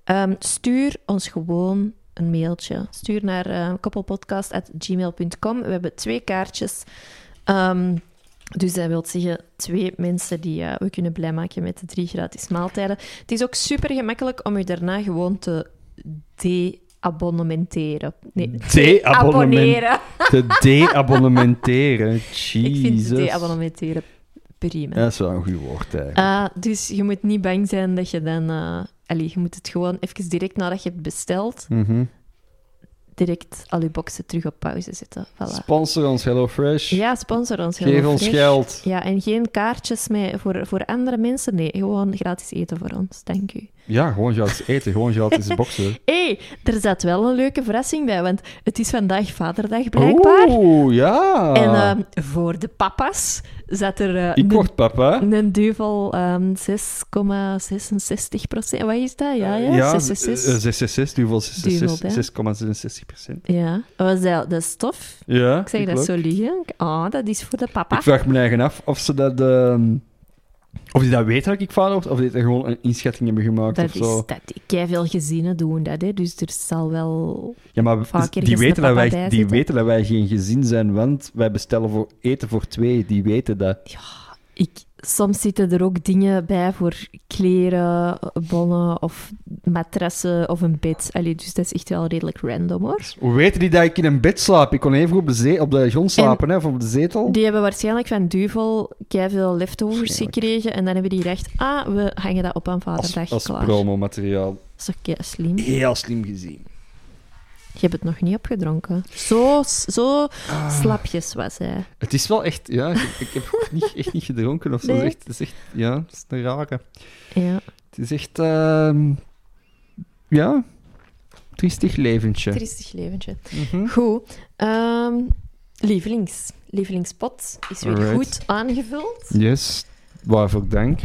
S1: Ehm, stuur ons gewoon een mailtje. Stuur naar eh, koppelpodcast.gmail.com. We hebben twee kaartjes. Ehm, dus dat wil zeggen twee mensen die eh, we kunnen blij maken met de drie gratis maaltijden. Het is ook super gemakkelijk om je daarna gewoon te de-abonnementeren. Nee,
S2: De-abonnement.
S1: abonneren.
S2: Te de-abonnementeren.
S1: Ik vind
S2: Jezus.
S1: de-abonnenteren prima.
S2: Dat is wel een goed woord, eigenlijk.
S1: Ah, dus je moet niet bang zijn dat je dan... eh, allee, je moet het gewoon even direct nadat je het bestelt,
S2: Mhm.
S1: direct al je boxen terug op pauze zetten. Voilà.
S2: Sponsor ons HelloFresh.
S1: Ja, sponsor ons.
S2: Geef ons
S1: HelloFresh.
S2: geld.
S1: Ja, en geen kaartjes mee voor, voor andere mensen. Nee, gewoon gratis eten voor ons. Dank u.
S2: Ja, gewoon gratis eten. Gewoon gratis boksen.
S1: Hé, hey, er zat wel een leuke verrassing bij, want het is vandaag Vaderdag blijkbaar.
S2: Oeh, Ah. ja.
S1: En ehm, voor de papa's zat er eh,
S2: Ik
S1: een,
S2: word papa.
S1: een duvel ehm 6,66 procent. Wat is dat? Ja, ja,
S2: Eh, ja
S1: 6,66.
S2: 666, duvel
S1: Duvel, hè?
S2: 6,66 procent.
S1: Ja, wat is dat? Dat is tof.
S2: Ja,
S1: Ik zeg dat
S2: klopt.
S1: zo liegen. Ah, dat is voor de papa.
S2: Ik vraag me eigen af of ze dat... ehm, of die dat weten dat ik vader word, of die er gewoon een inschatting hebben gemaakt
S1: Dat
S2: of
S1: is
S2: zo.
S1: dat. Ik veel gezinnen doen dat, hè. dus er zal wel
S2: Ja, maar
S1: Vaak
S2: dus die,
S1: ergens
S2: weten
S1: een papa
S2: dat wij,
S1: bij
S2: die
S1: zitten.
S2: weten dat wij geen gezin zijn, want wij bestellen voor eten voor twee. Die weten dat.
S1: Ik, soms zitten er ook dingen bij voor kleren, bonnen of matrassen of een bed. Allee, dus dat is echt wel redelijk random hoor.
S2: Hoe weten die dat ik in een bed slaap? Ik kon even op de, zee, op de grond slapen, hè, of op de zetel.
S1: Die hebben waarschijnlijk van Duvel veel leftovers
S2: Waarschijnlijk.
S1: gekregen. En dan hebben die recht, ah, we hangen dat op aan vaderdag
S2: Als, als
S1: klaar.
S2: promomateriaal.
S1: Dat is toch kei slim? Je
S2: Heel slim gezien.
S1: hebt het nog niet opgedronken. Zo, zo
S2: Ah.
S1: Ah. slapjes was hij.
S2: Het is wel echt, ja, ik, ik heb ook niet, echt niet gedronken of zo.
S1: Nee.
S2: Het, is echt, het is echt, ja, het is een rare.
S1: Ja.
S2: Het is echt, ehm, ja, triestig leventje.
S1: Tristig leventje.
S2: Mhm.
S1: Goed. Ehm, lievelings. Lievelingspot is weer
S2: Alright.
S1: goed aangevuld.
S2: Yes, waarvoor dank.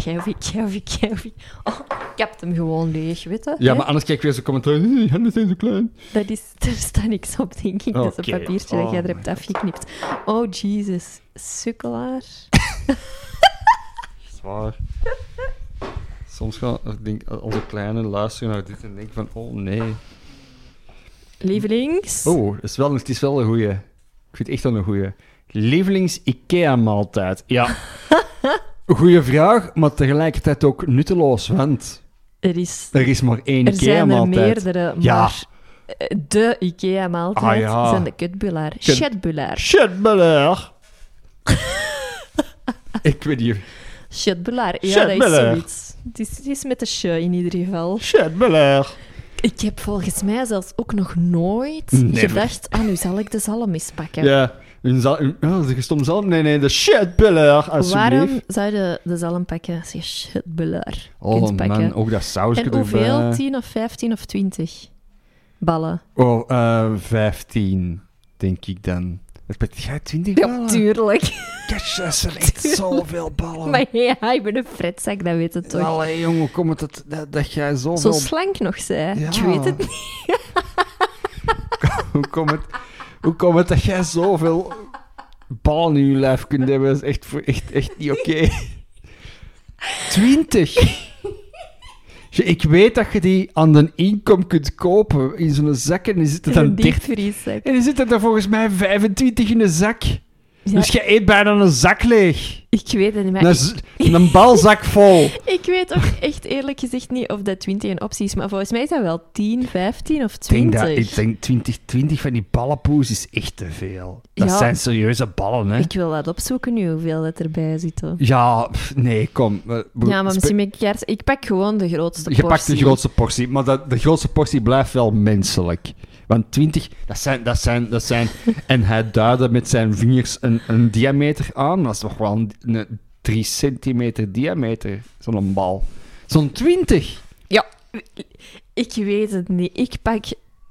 S1: Gavi, Gavi, Gavi. Oh, ik heb hem gewoon leeg, weet je?
S2: Ja,
S1: hè?
S2: maar anders kijk ik weer zo commentaar. Hé, hey, handen zijn zo klein.
S1: Dat is, daar staat niks op, denk ik. Dat is een
S2: Oké.
S1: papiertje dat
S2: Oh
S1: jij er
S2: my
S1: hebt afgeknipt. Oh, Jesus. Sukkelaar.
S2: Zwaar. Soms gaan ik denk, onze kleine luisteren naar dit en denken van, oh nee.
S1: Lievelings.
S2: Oh, het is wel, het is wel een goeie. Ik vind het echt wel een goeie. Lievelings IKEA-maaltijd. Ja. Goeie vraag, maar tegelijkertijd ook nutteloos, want
S1: Er, is,
S2: er is maar één
S1: er zijn er
S2: IKEA-maaltijd.
S1: meerdere,
S2: Ja.
S1: maar eh, de IKEA-maaltijd
S2: Ah, ja.
S1: zijn de kutbulaar.
S2: Kut-
S1: Shitbulaar.
S2: Shitbeleg. Ik weet niet.
S1: Shitbulaar. Ja, dat is
S2: Shitbulaar.
S1: zoiets. Het is, het is met de sh in ieder geval.
S2: Shitbeleg.
S1: Ik heb volgens mij zelfs ook nog nooit
S2: Never.
S1: gedacht, ah, nu zal ik de zalm eens pakken.
S2: Ja. Een zal, een, oh, zeg je stom zalm? Nee, nee, de shitbiller,
S1: Waarom
S2: alsjeblieft.
S1: zou je de zalm pakken als je shitbeller
S2: Oh
S1: kunt pakken?
S2: man, ook dat eh. sausje
S1: en hoeveel?
S2: erbij.
S1: 10 of 15 of 20 ballen?
S2: Oh, eh 15, denk ik dan. Heb jij 20 ballen?
S1: tuurlijk.
S2: Catch, dat zijn echt
S1: Tuurlijk.
S2: zoveel ballen.
S1: Maar ja, ik ben een fretzak, dat weet het toch.
S2: Allee, jongen, hoe komt het dat, dat, dat jij
S1: Zo
S2: zoveel...
S1: slank nog zij.
S2: Ja.
S1: Ik weet het niet.
S2: hoe, komt het, hoe komt het dat jij zoveel ballen in je lijf kunt hebben? Dat is echt, voor- echt, echt niet oké. 20. Je- Ik weet dat je die aan de inkom kunt kopen in zo'n zak en die zitten
S1: Een
S2: dan 30.
S1: diepvrieszak.
S2: En die zitten er volgens mij 25 in een zak.
S1: Ja,
S2: Dus je eet bijna een zak leeg.
S1: ik weet het niet, maar
S2: Een, z- een balzak vol.
S1: Ik weet ook echt eerlijk gezegd niet of dat 20 een optie is, maar volgens mij is dat wel 10, 15 of
S2: Ik denk
S1: 20.
S2: dat ik denk 20, 20 van die ballenpoes is echt te veel. Dat
S1: Ja.
S2: zijn serieuze ballen, hè?
S1: Ik wil dat opzoeken nu, hoeveel dat erbij zit. hoor.
S2: Ja, pff, nee, kom. eh,
S1: Ja,
S2: we-
S1: maar
S2: spe-
S1: misschien ben ik jaars- Ik pak gewoon de grootste
S2: Je pakt
S1: portie.
S2: de grootste portie, maar dat, de grootste portie blijft wel menselijk. Want 20, dat zijn, dat zijn, dat zijn... en hij duidde met zijn vingers een, een diameter aan. Dat is toch wel een, een 3 centimeter diameter, zo'n bal. Zo'n 20.
S1: Ik weet het niet. Ik pak...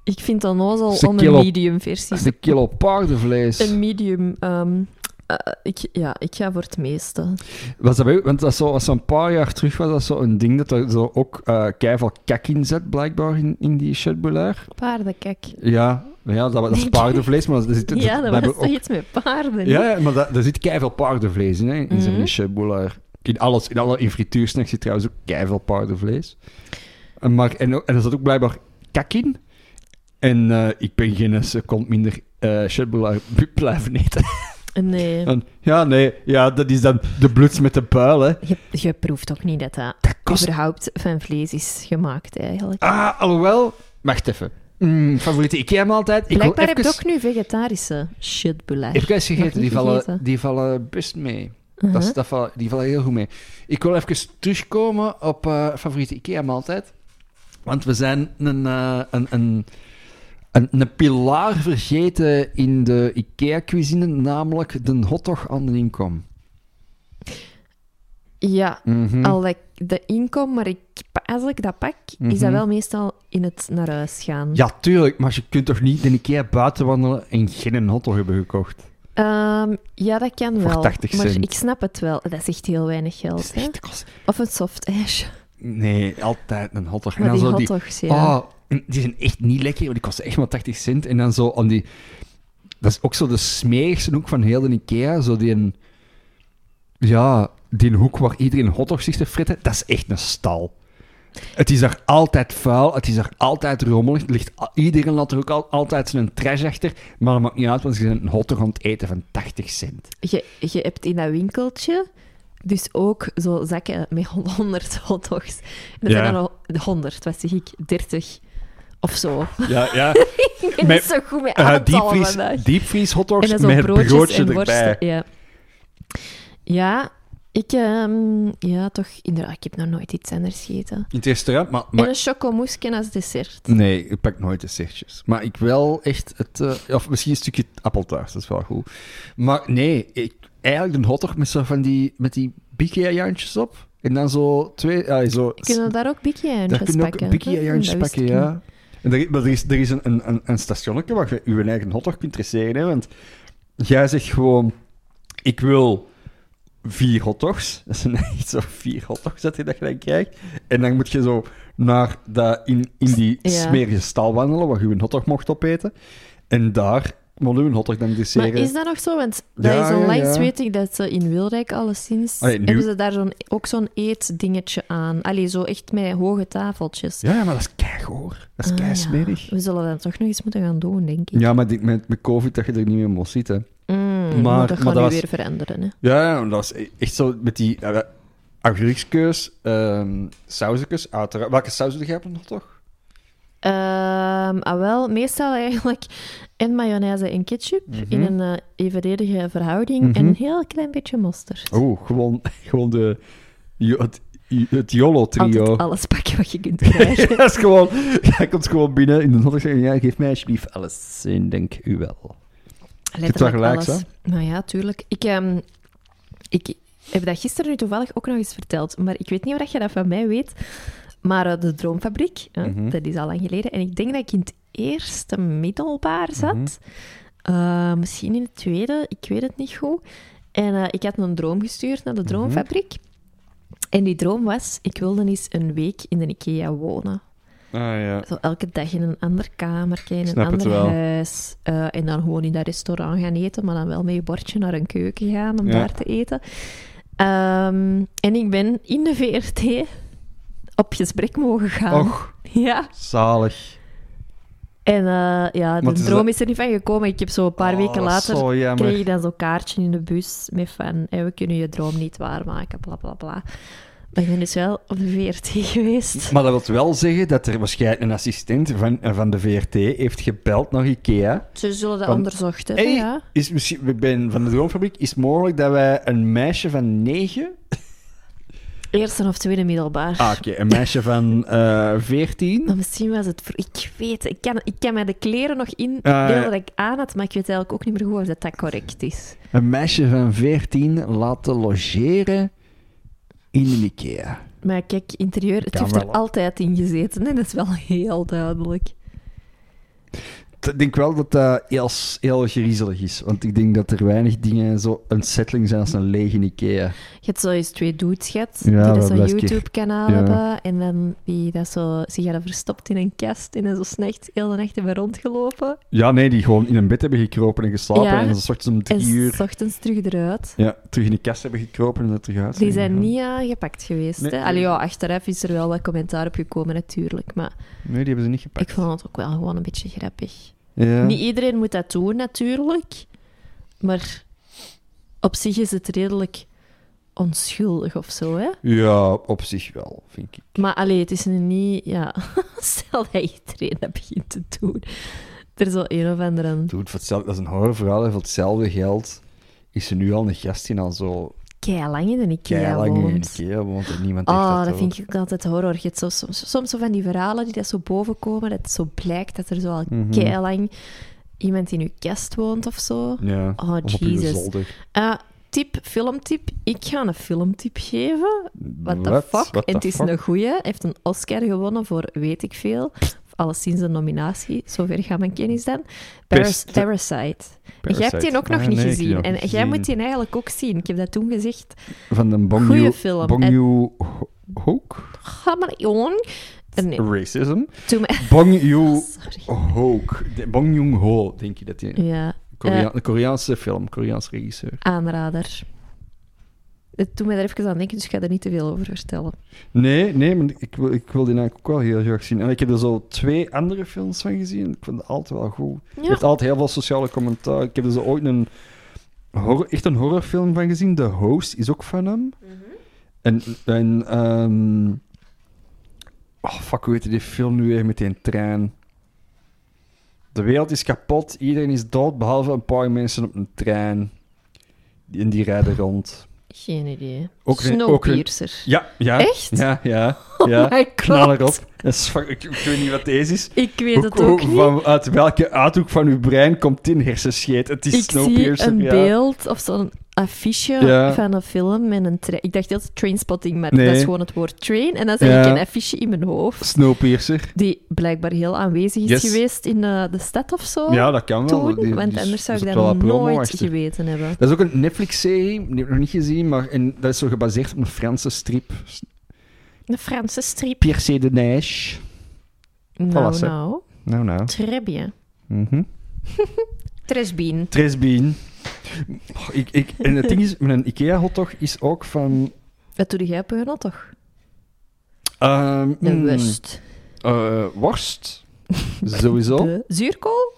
S1: Ik vind het onnozel
S2: Dat is een
S1: om
S2: kilo.
S1: een medium versie.
S2: Dat is een kilo paardenvlees.
S1: Een medium... ehm, eh, ik, ja, ik ga voor het meeste.
S2: Was dat bij u? Want dat zo, was zo'n paar jaar terug was dat zo'n ding dat er zo ook eh keivel kak in zat, blijkbaar, in, in die chatboulair.
S1: Paardenkak.
S2: Ja, maar ja dat, wa- dat is paardenvlees, maar er zit...
S1: Ja, dat
S2: hebben
S1: was
S2: ook-
S1: toch iets met paarden? niet?
S2: Ja, ja, maar dat, daar zit keiveel paardenvlees in, hè, in zo'n
S1: Mhm.
S2: chatboulair. In alles, in alle in frituursnacks zit trouwens ook keiveel paardenvlees. En, maar, en, ook- en er zat ook blijkbaar kak in. En eh, ik ben geen seconde minder eh chatboulair blijven eten.
S1: Nee.
S2: En, ja, nee, ja, dat is dan de bluts met de puil, hè.
S1: Je, je proeft ook niet dat dat
S2: Dat kost
S1: überhaupt van vlees is gemaakt, eigenlijk.
S2: Ah, alhoewel... Wacht even. Mm, favoriete IKEA-maaltijd? Ik wil
S1: Blijkbaar heb je
S2: even-
S1: ook nu vegetarische shitbullet.
S2: Heb ik eens gegeten?
S1: Nog
S2: Die
S1: niet
S2: vallen,
S1: gegeten.
S2: die vallen best mee.
S1: Uh-huh.
S2: Dat is, dat vallen, die vallen heel goed mee. Ik wil even terugkomen op eh, favoriete IKEA-maaltijd. Want we zijn een, eh, een, een, een, een pilaar vergeten in de IKEA-cuisine, namelijk de hotdog aan de inkom.
S1: Ja,
S2: Mhm.
S1: al dat ik de inkom, maar ik, als ik dat pak, is
S2: Mhm.
S1: dat wel meestal in het naar huis gaan.
S2: Ja, tuurlijk, maar je kunt toch niet de IKEA buiten wandelen en geen hotdog hebben gekocht?
S1: Ehm, ja, dat kan
S2: Voor
S1: wel.
S2: 80
S1: maar
S2: cent.
S1: ik snap het wel. Dat is echt heel weinig
S2: Dat
S1: geld.
S2: is
S1: hè.
S2: echt kost-
S1: Of een soft ijsje.
S2: Nee, altijd een hotdog. en
S1: Maar
S2: dan
S1: die
S2: zo die
S1: hotdogs, ja.
S2: Oh, en die zijn echt niet lekker, want die kosten echt maar 80 cent. En dan zo aan die... Dat is ook zo de smerigste hoek van heel de Ikea. Zo die... een- Ja, die hoek waar iedereen hotdogs zich te fritten. Dat is echt een stal. Het is daar altijd vuil, het is daar altijd rommelig. Er ligt, al- iedereen laat er ook al- altijd zijn trash achter. Maar dat maakt niet uit, want ze zijn een hotdog aan het eten van 80 cent.
S1: Je, je hebt in dat winkeltje dus ook zo zakken met 100 hotdogs. En dat
S2: Ja.
S1: zijn dan al 100, wat zeg ik, 30 of zo.
S2: Ja, ja.
S1: Ik ben
S2: Met-
S1: niet zo goed met
S2: Eh,
S1: aantallen
S2: diepvries,
S1: vandaag.
S2: diepvries
S1: En
S2: hotdogs
S1: dan
S2: met
S1: zo
S2: het
S1: broodjes
S2: broodje
S1: en worsten.
S2: erbij.
S1: Ja. ja, ik... ehm, ja, toch. Inderdaad, ik heb nog nooit iets anders gegeten.
S2: In het restaurant, maar... maar
S1: En een chocomousse als dessert.
S2: Nee, ik pak nooit de sertjes. Maar ik wel echt het... eh, of misschien een stukje appeltaart, dat is wel goed. Maar nee, ik, eigenlijk een hotdog met zo van die, met die bikkie-jantjes op. En dan zo twee... ah, zo,
S1: Kunnen we daar ook
S2: daar
S1: bikkie-eindjes
S2: kun je
S1: pakken?
S2: ook bikkie-jantjes
S1: Hm, dat wist
S2: pakken,
S1: ik niet.
S2: ja. En er, maar er is, er is een, een, een, een stationnetje waar je je eigen hotdog kunt traceren. Hè, want jij zegt gewoon... Ik wil vier hotdogs. Dat zijn echt zo vier hotdogs dat je dat je dan krijgt. En dan moet je zo naar dat in, in die
S1: Ja.
S2: smerige stal wandelen waar je een hotdog mocht opeten. En daar moet je een hotdog dan
S1: Maar
S2: desseren.
S1: is dat nog zo? Want dat
S2: Ja,
S1: is onlangs,
S2: ja, ja.
S1: weet ik, dat ze in Wilrijk alleszins...
S2: Allee, nu-
S1: Hebben ze daar zo'n, ook zo'n eetdingetje aan. Allee, zo echt met hoge tafeltjes.
S2: Ja, ja, maar dat is keigoor. Dat is
S1: Ah, ja.
S2: keismerig. ja.
S1: We zullen dat toch nog eens moeten gaan doen, denk ik.
S2: maar die- met, met covid dat je er niet meer mocht zitten.
S1: Mm, maar,
S2: maar-
S1: dat
S2: maar
S1: gaat nu
S2: dat was-
S1: weer veranderen, hè.
S2: Ja, ja, dat was e- echt zo met die uh, augurkskeus, ehm sausjes, uiteraard. Welke saus doe jij op nog toch?
S1: Ehm, ah, wel, meestal eigenlijk en mayonaise en ketchup in een eh, evenredige verhouding en
S2: Mhm.
S1: een heel klein beetje mosterd.
S2: Oh, gewoon, gewoon de, jo- het, het YOLO-trio.
S1: Altijd alles pakken wat je kunt krijgen.
S2: dat is gewoon, jij komt gewoon binnen in de hotdog en zeggen, ja, geef mij alsjeblieft alles. En denk u wel.
S1: Letterlijk
S2: wel gelijk,
S1: alles. Nou ja, tuurlijk. Ik, ehm, ik heb dat gisteren nu toevallig ook nog eens verteld, maar ik weet niet of dat je dat van mij weet. Maar eh, de Droomfabriek, hè,
S2: Mhm.
S1: dat is al lang geleden. En ik denk dat ik in het eerste middelbaar zat.
S2: Mhm.
S1: Eh, misschien in het tweede, ik weet het niet goed. En eh, ik had een droom gestuurd naar de
S2: Mhm.
S1: Droomfabriek. En die droom was, ik wilde eens een week in de IKEA wonen.
S4: Ah ja.
S1: Zo elke dag in een ander kamertje, in een
S4: Snap het
S1: ander
S4: wel.
S1: huis. eh, en dan gewoon in dat restaurant gaan eten, maar dan wel met je bordje naar een keuken gaan om
S4: Ja.
S1: daar te eten. Ehm, en ik ben in de VRT op gesprek mogen gaan.
S4: Och,
S1: Ja.
S4: zalig.
S1: En eh, ja, de
S4: het is
S1: droom
S4: dat-
S1: is er niet van gekomen. Ik heb zo een paar
S4: Oh,
S1: weken
S4: dat is
S1: later...
S4: Zo jammer.
S1: kreeg je dan zo'n kaartje in de bus met van... "Hey, we kunnen je droom niet waarmaken, bla, bla, bla. Maar ik ben dus wel op de VRT geweest.
S2: Maar dat wil wel zeggen dat er waarschijnlijk een assistent van, eh, van de VRT heeft gebeld naar IKEA.
S1: Ze zullen dat
S2: Van-
S1: onderzocht hebben,
S2: Hey,
S1: ja.
S2: is misschien, we ben van de Droomfabriek. Is het mogelijk dat wij een meisje van negen...
S1: Eerste of tweede middelbaar.
S2: Ah, oké. een meisje van eh veertien...
S1: Maar misschien was het voor... Ik weet ik kan, ik kan mij de kleren nog in
S2: ja.
S1: beelden dat ik aan had, maar ik weet eigenlijk ook niet meer goed of dat, dat correct is.
S2: Een meisje van 14 laten logeren in een IKEA.
S1: Maar kijk, interieur, het
S2: Kan
S1: heeft
S2: wel,
S1: er
S2: hè.
S1: altijd in gezeten. En dat is wel heel duidelijk.
S2: Ik denk wel dat dat heel, heel griezelig is. Want ik denk dat er weinig dingen zo unsettling zijn als een lege IKEA.
S1: Je hebt zo eens twee dudes gehad,
S2: Ja,
S1: die
S2: dat
S1: dat zo'n
S2: blijft keer.
S1: YouTube-kanaal
S2: Ja.
S1: hebben. En dan die dat zo, zich hadden verstopt in een kast en dan zo s'nachts heel de nacht hebben rondgelopen.
S2: Ja, nee, die gewoon in een bed hebben gekropen en geslapen.
S1: Ja.
S2: En dan s ochtends om
S1: En
S2: drie uur
S1: s ochtends terug eruit.
S2: ja, terug in de kast hebben gekropen en dat terug uit.
S1: Die zijn niet aangepakt geweest.
S2: Nee.
S1: hè? Allee, ja, achteraf is er wel wat commentaar op gekomen natuurlijk. Maar
S4: Nee, die hebben ze niet gepakt.
S1: ik vond het ook wel gewoon een beetje grappig.
S2: Ja.
S1: Niet iedereen moet dat doen natuurlijk. Maar op zich is het redelijk onschuldig of zo, hè?
S2: ja, op zich wel, vind ik.
S1: Maar allee, het is nu niet... Ja, stel dat iedereen dat begint te doen. Er is wel een of ander aan.
S2: Dude, voor hetzelfde, dat is een horrorverhaal. hè. Voor hetzelfde geld is ze nu al een gast die al zo
S1: Keilang in de Ikea
S2: keilang in een
S1: woont.
S2: IKEA woont en niemand heeft
S1: Oh,
S2: dat
S1: dat vind ik ook altijd horror. Je hebt zo, soms, soms zo van die verhalen die dat zo boven komen, dat het zo blijkt dat er zo al
S4: Mhm.
S1: keilang iemand in uw kast woont of zo.
S2: Ja,
S1: Oh,
S2: of op uw
S1: Jesus.
S2: zolder.
S1: Ah, tip, filmtip. Ik ga een filmtip geven. What the
S2: Wat?
S1: fuck?
S2: What
S1: en het
S2: the
S1: is
S2: fuck?
S1: een goeie. Hij heeft een Oscar gewonnen voor weet ik veel. Alleszins een nominatie. Zover gaat mijn kennis dan. Paras-
S2: Best-
S1: Parasite. En Jij hebt die ook nog
S4: Ah,
S1: niet
S4: nee, ik heb die
S1: gezien.
S4: nog
S1: En
S4: niet
S1: jij
S4: gezien.
S1: moet die eigenlijk ook zien. Ik heb dat toen gezegd.
S2: Van de Bong
S1: Goeie
S2: Joon-
S1: film.
S2: Bong
S1: En-
S2: Joon Ho- Hook?
S1: Ga maar, jong. En nee,
S2: Racism?
S1: toen me- Ah,
S2: Bong Joon
S1: Sorry.
S2: Hook. De- Bong Joon Ho, denk je dat die...
S1: Ja,
S2: Korea- Een Koreaanse film, Koreaans regisseur.
S1: aanrader. Het doet mij daar even aan denken, dus ik ga er niet te veel over vertellen.
S2: Nee, nee, maar ik wil, ik wil die eigenlijk ook wel heel graag zien. En ik heb er zo twee andere films van gezien. Ik vond het altijd wel goed. Je
S1: Ja,
S2: hebt altijd heel veel sociale commentaar. Ik heb er zo ooit een horror, echt een horrorfilm van gezien. The Host is ook van hem.
S1: Mhm.
S2: En, en ehm, oh fuck, hoe heette die film nu weer met die trein? De wereld is kapot, iedereen is dood, behalve een paar mensen op een trein. Die- En die rijden rond.
S1: geen idee.
S2: Ook een- ook een-
S1: Snowpiercer.
S2: Ja, ja.
S1: Echt?
S2: Ja, ja.
S1: Oh
S2: ja.
S1: my god.
S2: Knal erop. Dat is fuck- ik, ik weet niet wat deze is.
S1: Ik weet
S2: Hoe-
S1: het
S2: hoe-
S1: ook niet.
S2: van, uit welke uithoek van uw brein komt dit hersenscheet? Het is
S1: Ik zie
S2: Snowpiercer,
S1: een
S2: ja.
S1: beeld of zo'n affiche
S2: Ja.
S1: van een film met een trein. Ik dacht dat het trainspotting, maar
S2: Nee.
S1: dat is gewoon het woord train. En dan zag
S2: Ja.
S1: ik een affiche in mijn hoofd,
S2: Snowpiercer.
S1: die blijkbaar heel aanwezig is
S2: Yes.
S1: geweest in eh, de stad of zo.
S2: Ja, dat kan wel.
S1: toen,
S2: Die- die
S1: want
S2: is-
S1: anders zou
S2: is
S1: ik
S2: op
S1: dat
S2: wel wat promo
S1: nooit
S2: achter.
S1: geweten hebben.
S2: Dat is ook een Netflix-serie, die heb ik nog niet gezien, maar en dat is zo gebaseerd op een Franse strip.
S1: Een Franse strip.
S2: Pierre C. de Nijs.
S1: Nou,
S2: ze.
S1: nou.
S4: Nou, nou.
S1: Très bien.
S4: Mhm.
S1: Très bien.
S2: Tresbien. Oh, ik, ik, en het ding is, mijn Ikea-hotdog is ook van...
S1: Wat doe jij op je hot toch?
S2: ehm,
S1: De
S2: mm,
S1: worst.
S2: eh, worst. Sowieso.
S1: De zuurkool?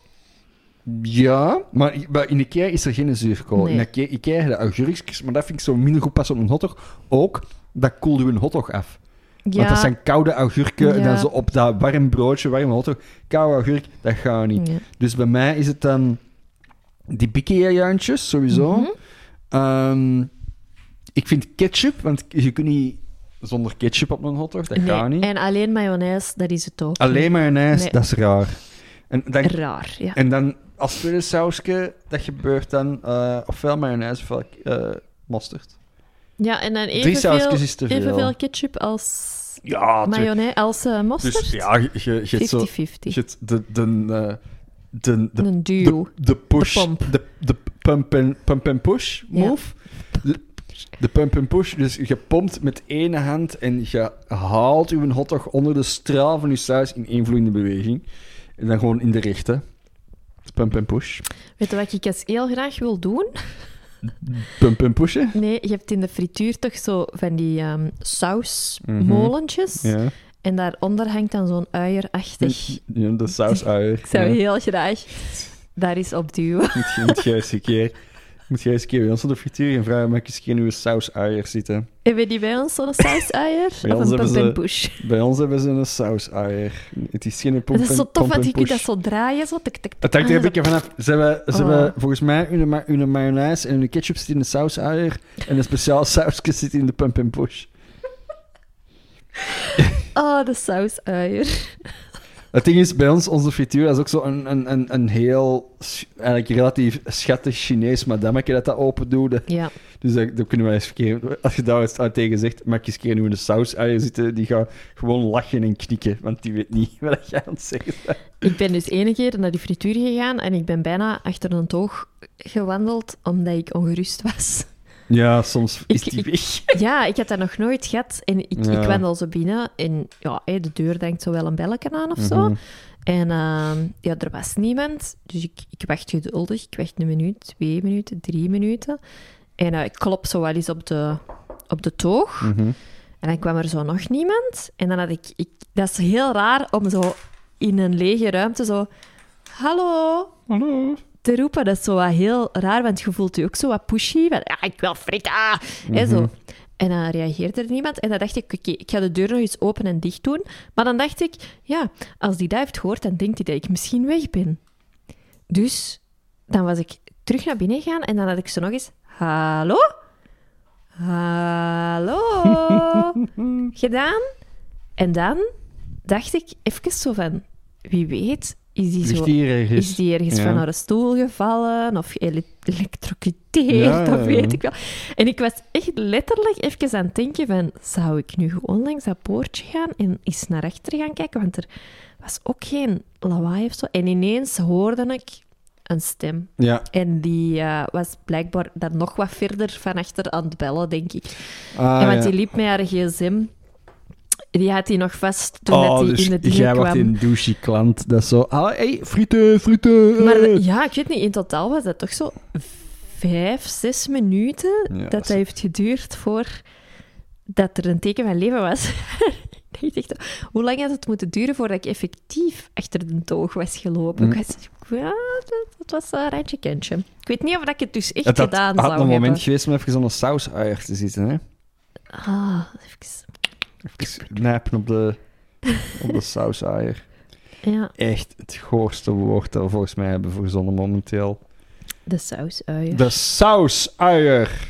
S2: Ja, maar i- maar in Ikea is er geen zuurkool.
S1: Nee.
S2: In Ikea, Ikea heb je augurkjes, maar dat vind ik zo minder goed passen op een hotdog. Ook, dat koelde een hotdog af.
S1: Ja.
S2: Want dat zijn koude augurken en
S1: Ja.
S2: dan zo op dat warm broodje, warm hotdog, koude augurk, dat gaat niet.
S1: Ja.
S2: Dus bij mij is het dan die bikea-juintjes, sowieso.
S1: Mhm.
S2: Ehm, ik vind ketchup, want je kunt niet zonder ketchup op een hotdog, dat
S1: Nee,
S2: gaat niet.
S1: En alleen mayonaise, dat is het ook.
S2: Alleen mayonaise,
S1: Nee.
S2: dat is raar. En dan,
S1: Raar, ja.
S2: en dan als tweede sausje, dat gebeurt dan eh, ofwel mayonaise ofwel eh mosterd.
S1: Ja, en dan
S2: Drie sausjes
S1: evenveel,
S2: is te veel.
S1: evenveel ketchup als
S2: Ja, tuurlijk.
S1: mayonaise, als eh, mosterd.
S2: Dus ja, je, je, je hebt zo...
S1: 50-50.
S2: Je hebt de, de, eh, de, de,
S1: Een duo.
S2: de, de push...
S1: De pump.
S2: De, de pump, and, pump and push
S1: Ja.
S2: move. De, de pump and push. Dus je pompt met één hand en je haalt uw hotdog onder de straal van je saus in één vloeiende beweging. En dan gewoon in de rechte. Pump and push.
S1: Weet je wat ik eens heel graag wil doen?
S2: Pump and pushen.
S1: Nee, je hebt in de frituur toch zo van die ehm, sausmolentjes.
S2: Mhm. Ja.
S1: En daaronder hangt dan zo'n uierachtig.
S2: ja de saus uit.
S1: Ik zou
S2: Ja.
S1: heel graag daar eens op duwen.
S2: Moet je, moet jij eens een keer... Moet jij eens een keer bij ons op de frituur en vragen of ik eens geen nieuwe saus uier zitten.
S1: Hebben die bij ons zo'n sausuier?
S2: Bij ons
S1: of een
S2: hebben
S1: pump
S2: ze-
S1: and push?
S2: Bij ons hebben ze een saus-eier. Het is geen pomp
S1: dat is zo
S2: pomp
S1: tof, want je kunt
S2: push.
S1: dat zo draaien. Zo, tik, tik,
S2: Het hangt er een
S1: Ah, zo.
S2: beetje vanaf. Ze hebben, ze
S1: Oh.
S2: hebben volgens mij hun, ma- hun mayonaise en hun ketchup zit in de saus-eier. En een speciaal sausje zit in de pump and push.
S1: Oh, de sausuier.
S2: Het ding is, bij ons, onze frituur, dat is ook zo een, een, een, een heel, sch- eigenlijk relatief schattig Chinees madammetje dat dat open doet.
S1: Ja,
S2: Dus dat, dat kunnen wij eens verkeerd. Als je daar eens aan tegen zegt, maak eens keer nu in de saus-eier zitten, eh, die gaat gewoon lachen en knikken, want die weet niet wat jij aan het zeggen bent.
S1: ik ben dus ene keer naar die frituur gegaan en ik ben bijna achter een toog gewandeld omdat ik ongerust was.
S2: Ja, soms is
S1: Ik-
S2: die
S1: ik-
S2: weg.
S1: Ja, ik had dat nog nooit gehad. En ik,
S2: Ja.
S1: ik wandel zo binnen en ja, hé, de deur denkt zo wel een belletje aan of zo.
S2: Mhm.
S1: En ehm, ja, er was niemand. Dus ik, ik wacht geduldig. Ik wacht een minuut, twee minuten, drie minuten. En eh, ik klop zo wel eens op de, op de toog.
S2: Mhm.
S1: En dan kwam er zo nog niemand. En dan had ik, ik... Dat is heel raar om zo in een lege ruimte zo... Hallo,
S2: Hallo.
S1: te roepen. Dat is zo wat heel raar, want je voelt je ook zo wat pushy. Van, ah, ik wil frita! hè, zo. En dan reageerde er niemand. En dan dacht ik, oké, ik ga de deur nog eens open en dicht doen. Maar dan dacht ik, ja, als die dat heeft gehoord, dan denkt hij dat ik misschien weg ben. Dus dan was ik terug naar binnen gegaan en dan had ik ze nog eens... Hallo? Hallo?
S2: Mhm.
S1: Gedaan? En dan dacht ik even zo van... Wie weet is die zo
S2: Ligt hier ergens.
S1: is die ergens
S2: Ja.
S1: van haar stoel gevallen of geëlectrocuteerd
S2: Ja, ja,
S1: of weet
S2: ja.
S1: ik wel. En ik was echt letterlijk even aan het denken van, zou ik nu gewoon langs dat poortje gaan en eens naar achter gaan kijken? Want er was ook geen lawaai of zo. En ineens hoorde ik een stem.
S2: Ja.
S1: En die eh, was blijkbaar dan nog wat verder van achter aan het bellen, denk ik.
S2: Ah,
S1: en want
S2: ja.
S1: die liep met haar gsm. Die had hij nog vast toen dat
S2: oh,
S1: hij
S2: dus
S1: in het
S2: jij
S1: ding
S2: wordt
S1: kwam.
S2: een douche klant. Dat is zo. Ah, hey, frieten, frieten. eh.
S1: Maar de- ja, ik weet niet, in totaal was dat toch zo vijf, zes minuten
S2: Ja,
S1: dat dat heeft geduurd voor dat er een teken van leven was. Ik dacht, hoe lang had het moeten duren voordat ik effectief achter de toog was gelopen?
S2: Mm.
S1: Ik was, ja, dat, dat was een rijtje kentje. Ik weet niet of dat ik het dus echt
S2: het had,
S1: gedaan
S2: had
S1: zou
S2: een
S1: hebben.
S2: moment geweest om even zo'n saus-eier te zitten. Hè?
S1: Ah, even-
S2: Even nijpen op de, op de saus-eier.
S1: ja,
S2: Echt het goorste woord dat we volgens mij hebben verzonnen momenteel.
S1: de sausuien.
S2: De saus-eier.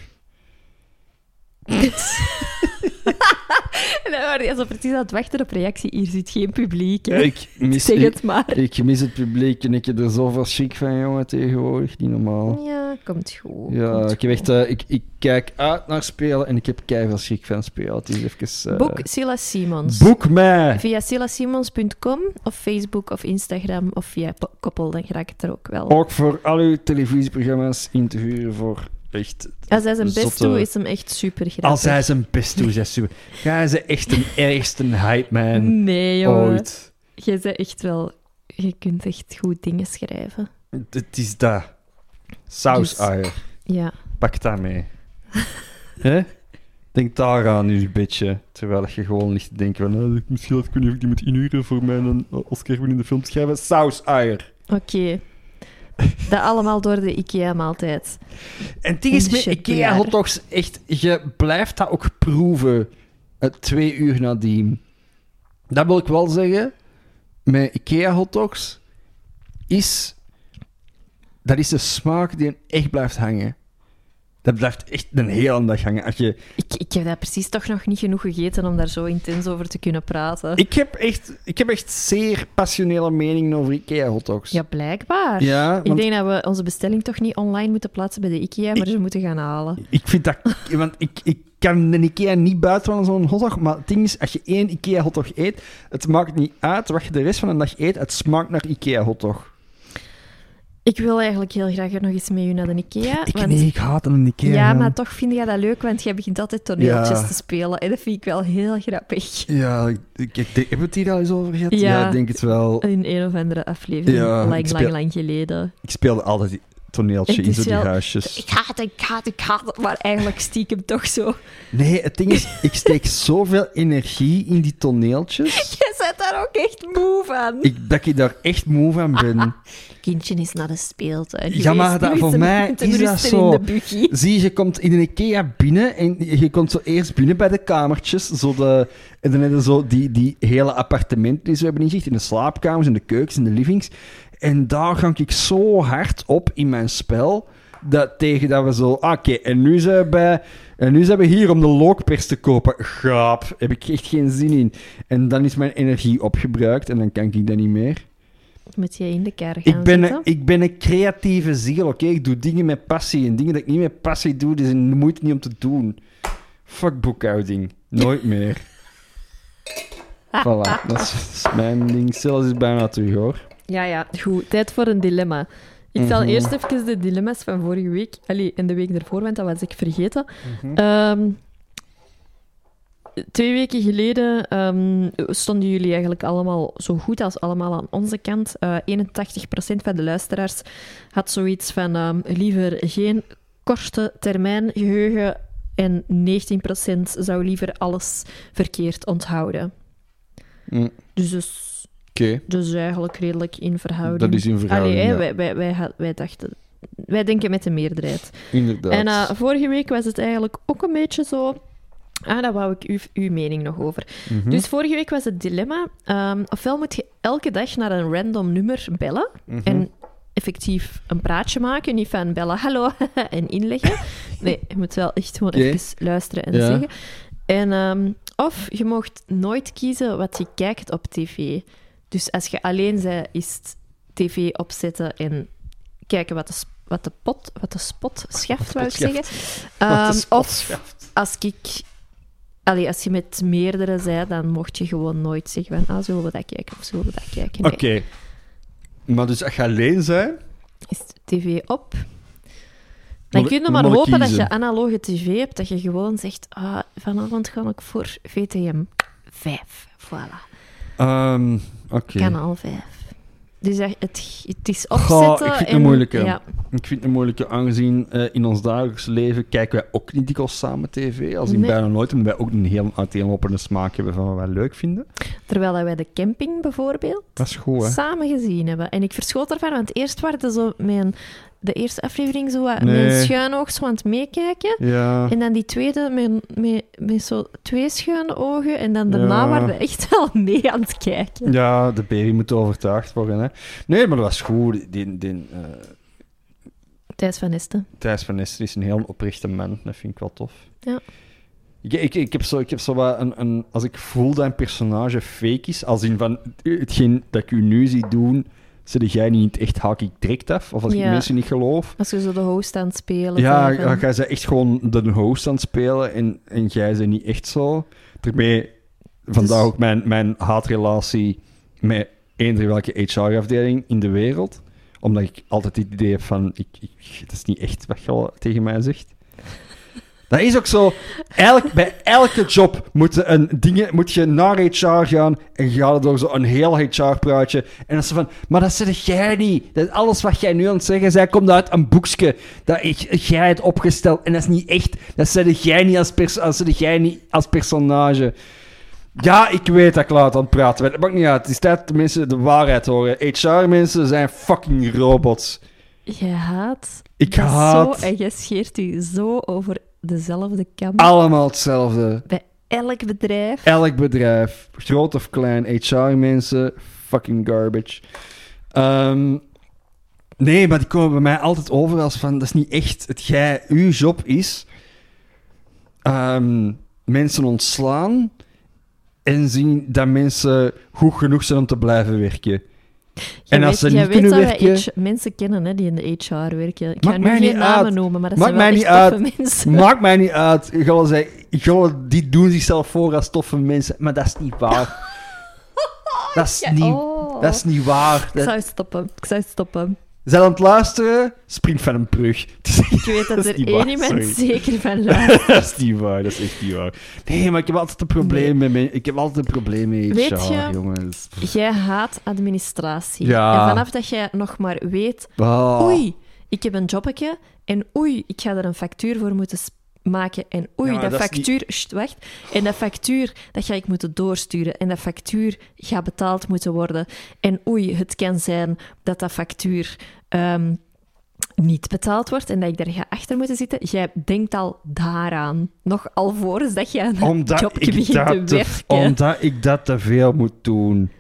S1: En dan waren die zo precies aan het wachten op reactie. Hier zit geen publiek, hè.
S2: Ik mis,
S1: zeg
S2: ik,
S1: het maar.
S2: ik mis het publiek en ik heb er zoveel chic van, jongen, tegenwoordig. Niet normaal.
S1: Ja, komt Oh, goed.
S2: Ja,
S1: komt
S2: ik, heb
S1: goed.
S2: echt, eh, ik, ik kijk uit naar spelen en ik heb keihard schrik van spelen. Het is even... eh,
S1: Boek Silla Simons.
S2: boek mij!
S1: Via sillasimons.com of Facebook of Instagram of via po- koppel, dan raak ik er ook wel.
S2: Ook voor al uw televisieprogramma's in te huren voor echt...
S1: Als hij zijn best
S2: zotte-
S1: doet, is hem echt super grappig.
S2: Als hij zijn best doet, is super. Ga ze echt een ergste hype man
S1: Nee, Mm, jongen.
S2: ooit.
S1: Jij bent echt wel... Je kunt echt goed dingen schrijven.
S2: Het is dat. saus
S1: Ja.
S2: Pak dat mee. Hè? Denk daar aan nu een beetje. Terwijl je gewoon ligt te denken van... eh, misschien had ik niet of ik die moet inhuren voor mijn eh, Oscar in de film te schrijven. Saus-eier.
S1: Oké. Dat allemaal door de IKEA-maaltijd.
S2: En het ding is
S1: In de
S2: met
S1: shit
S2: IKEA
S1: blaren.
S2: hotdogs, echt, je blijft dat ook proeven eh, twee uur nadien. Dat wil ik wel zeggen, met IKEA hotdogs is, dat is de smaak die echt blijft hangen. Dat blijft echt een hele dag hangen. Als je,
S1: Ik, ik heb dat precies toch nog niet genoeg gegeten om daar zo intens over te kunnen praten.
S2: ik, heb echt, ik heb echt zeer passionele meningen over IKEA-hotdogs.
S1: Ja, blijkbaar.
S2: Ja, want-
S1: Ik denk dat we onze bestelling toch niet online moeten plaatsen bij de IKEA, maar
S2: Ik-
S1: ze moeten gaan halen.
S2: Ik vind dat... Want ik, ik kan de Ikea niet buiten van zo'n hotdog, maar het ding is, als je één Ikea-hotdog eet, het maakt niet uit wat je de rest van de dag eet, het smaakt naar Ikea-hotdog.
S1: Ik wil eigenlijk heel graag er nog eens mee u naar de IKEA.
S2: Ik,
S1: want-
S2: nee, ik haat een Ikea.
S1: ja,
S2: gaan.
S1: maar toch vind jij dat leuk, want jij begint altijd toneeltjes
S2: Ja.
S1: te spelen. En dat vind ik wel heel grappig.
S2: Ja, ik, ik, ik denk- hebben we het hier al eens over gehad?
S1: Ja. Eh,
S2: ik denk het wel.
S1: In een of andere aflevering,
S2: Ja, ik
S1: lang,
S2: speel-
S1: lang, lang geleden.
S2: Ik speelde altijd die toneeltje
S1: Het
S2: in
S1: is
S2: zo die
S1: wel-
S2: huisjes.
S1: Ik haat, ik haat, ik haat het, maar eigenlijk stiekem toch zo.
S2: Nee, het ding is, ik steek zoveel energie in die toneeltjes,
S1: Jij zet daar ook echt moe van.
S2: ik, dat ik daar echt moe van ben.
S1: Kindje is naar de speeltuin
S2: Ja, maar
S1: geweest.
S2: dat-
S1: Nu
S2: voor
S1: hem-
S2: mij
S1: hem
S2: is dat
S1: rusten
S2: zo.
S1: in de buggy.
S2: Zie, je, je komt in een IKEA binnen en je komt zo eerst binnen bij de kamertjes. Zo de, en dan hebben ze zo die, die hele appartementen die ze hebben ingericht. In de slaapkamers, in de keukens, in de livings. En daar gang ik zo hard op in mijn spel. Dat tegen dat we zo... ah, Oké, en nu zijn we bij... En nu zijn we hier om de lookpers te kopen. Gaap, heb ik echt geen zin in. En dan is mijn energie opgebruikt en dan kan ik dat niet meer.
S1: Moet jij in de kar gaan
S2: Ik ben, een,
S1: zitten?
S2: ik ben een creatieve ziel, oké? Ik doe dingen met passie. En dingen dat ik niet met passie doe, die zijn de moeite niet om te doen. Fuck boekhouding. Nooit meer. voilà, dat is, dat is mijn ding. Zelfs is bijna terug, hoor.
S1: Ja, ja, goed. Tijd voor een dilemma. Ik zal
S2: Mhm.
S1: eerst even de dilemma's van vorige week, allee, en de week ervoor, want dat was ik vergeten. Ehm, twee weken geleden ehm, stonden jullie eigenlijk allemaal, zo goed als allemaal, aan onze kant. Eh 81% van de luisteraars had zoiets van ehm, liever geen korte termijn geheugen en 19% zou liever alles verkeerd onthouden.
S4: Mm, Oké,
S1: Dus, dus, dus eigenlijk redelijk in verhouding.
S4: dat is in verhouding.
S1: Allee, hè,
S4: ja.
S1: wij, wij, wij, had- wij dachten... Wij denken met de meerderheid.
S4: Inderdaad.
S1: En eh, vorige week was het eigenlijk ook een beetje zo... Ah, daar wou ik uw, uw mening nog over.
S4: Mhm.
S1: Dus vorige week was het dilemma... ehm, ofwel moet je elke dag naar een random nummer bellen
S4: Mhm.
S1: en effectief een praatje maken. Niet van bellen, hallo, en inleggen. Nee, je moet wel echt gewoon
S4: Oké.
S1: even luisteren en
S4: Ja.
S1: zeggen. En, ehm, of je mocht nooit kiezen wat je kijkt op tv. Dus als je alleen bent, is het tv opzetten en kijken wat de, s- wat de, pot, wat de spot schaft, wou ik zeggen. Ehm, of als ik... Allee, als je met meerdere zei, dan mocht je gewoon nooit zeggen van, ah, zullen we dat kijken of zullen we dat kijken. Nee.
S2: Oké. Maar dus als je alleen zijn,
S1: is de tv op. Dan
S2: Moet-
S1: kun je maar
S2: moet ik
S1: hopen dat
S2: kiezen?
S1: je analoge tv hebt, dat je gewoon zegt, ah, vanavond ga ik voor VTM 5. Voilà,
S2: Ehm, oké.
S1: kanaal 5. Dus dat- het, het is
S2: Goh,
S1: opzetten
S2: ik vind het
S1: en...
S2: een moeilijke.
S1: Ja,
S2: Ik vind het een moeilijke, aangezien eh, in ons dagelijks leven kijken wij ook niet dikwijls samen tv. Als in
S1: Nee.
S2: bijna nooit, omdat wij ook een heel uiteenlopende smaak hebben van wat wij leuk vinden.
S1: terwijl dat wij de camping bijvoorbeeld
S2: Dat is goed, Oh, hè?
S1: samen gezien hebben. En ik verschoot ervan, want eerst waren ze zo mijn, de eerste aflevering zo wat,
S2: Nee.
S1: mijn schuin oog zo aan het meekijken.
S2: Ja.
S1: En dan die tweede met, met, met zo twee schuine ogen. En dan daarna
S2: Ja.
S1: waren we echt al mee aan het kijken.
S2: Ja, de baby moet overtuigd worden. Hè. Nee, maar dat was goed. Die, die, eh,
S1: Thijs van Esten.
S2: Thijs van Ester is een heel oprechte man. Dat vind ik wel tof.
S1: Ja.
S2: Ik, ik, ik heb zo, ik heb zo wat een, een... Als ik voel dat een personage fake is, als in van hetgeen dat ik u nu zie doen, zit jij niet in het echt, haak ik direct af. Of als ik
S1: Ja.
S2: mensen niet geloof.
S1: Als je zo de host aan het spelen
S2: Ja,
S1: bent.
S2: ja, jij bent echt gewoon de host aan het spelen en, en jij bent niet echt zo. Daarmee, vandaar
S1: Dus-
S2: ook mijn, mijn haatrelatie met eender welke HR-afdeling in de wereld. Omdat ik altijd het idee heb van, ik, ik, het is niet echt wat je al tegen mij zegt. Dat is ook zo. Elk, bij elke job moet je, een, dingen, moet je naar HR gaan en je gaat door zo'n heel HR-praatje. En dan is ze van, maar dat zeg jij niet. Dat, alles wat jij nu aan het zeggen zij komt uit een boekje dat ik, jij hebt opgesteld. En dat is niet echt. Dat zeg jij niet als, pers dat zeg jij niet als personage. Ja, ik weet dat ik laat aan het praten ben. Dat maakt niet uit. Het is tijd dat mensen de waarheid horen. HR-mensen zijn fucking robots.
S1: Je haat.
S2: Ik
S1: dat
S2: haat
S1: Zo, en je scheert je zo over dezelfde kam.
S2: allemaal hetzelfde.
S1: Bij elk bedrijf.
S2: Elk bedrijf, groot of klein, HR-mensen, fucking garbage. Ehm, Nee, maar die komen bij mij altijd over als van, dat is niet echt het jij, uw job is ehm, mensen ontslaan en zien dat mensen goed genoeg zijn om te blijven werken.
S1: Jij
S2: En als
S1: weet,
S2: ze
S1: jij
S2: niet
S1: weet
S2: kunnen
S1: dat
S2: werken-
S1: wij H- mensen kennen hè, die in de HR werken. Ik ga
S2: Maakt
S1: nu
S2: mij
S1: geen
S2: niet
S1: namen
S2: uit.
S1: noemen, maar dat
S2: Maakt
S1: zijn wel
S2: mij
S1: echt
S2: niet
S1: toffe mensen.
S2: Maakt mij niet uit. Gullen zei, Gullen, die doen zichzelf voor als toffe mensen, maar dat is niet waar. Dat is
S1: Ja,
S2: niet,
S1: oh.
S2: dat is niet waar.
S1: Ik
S2: Dat...
S1: zou stoppen. Ik zou stoppen.
S2: Zijn aan het luisteren? Spring van een brug. Het is
S1: Ik weet dat,
S2: Dat is
S1: er
S2: niet
S1: één
S2: waar,
S1: iemand
S2: sorry.
S1: zeker van luistert.
S2: dat is niet waar, dat is echt niet waar. Nee, maar ik heb altijd een probleem met me- Ik heb altijd een probleem met
S1: Weet
S2: HR,
S1: je-
S2: jongens.
S1: Jij haat administratie.
S2: Ja.
S1: En vanaf dat jij nog maar weet...
S2: Ah.
S1: Oei, ik heb een jobbetje. En oei, ik ga er een factuur voor moeten s- maken. En oei,
S2: Ja,
S1: dat,
S2: dat is
S1: factuur... Sst, wacht. En dat factuur, dat ga ik moeten doorsturen. En dat factuur gaat betaald moeten worden. En oei, het kan zijn dat dat factuur... ehm, niet betaald wordt en dat ik daar ga achter moeten zitten. Jij denkt al daaraan. Nog alvorens dat jij een
S2: omdat
S1: jobje
S2: ik,
S1: begint te
S2: dat te,
S1: werken.
S2: omdat ik dat te veel moet doen.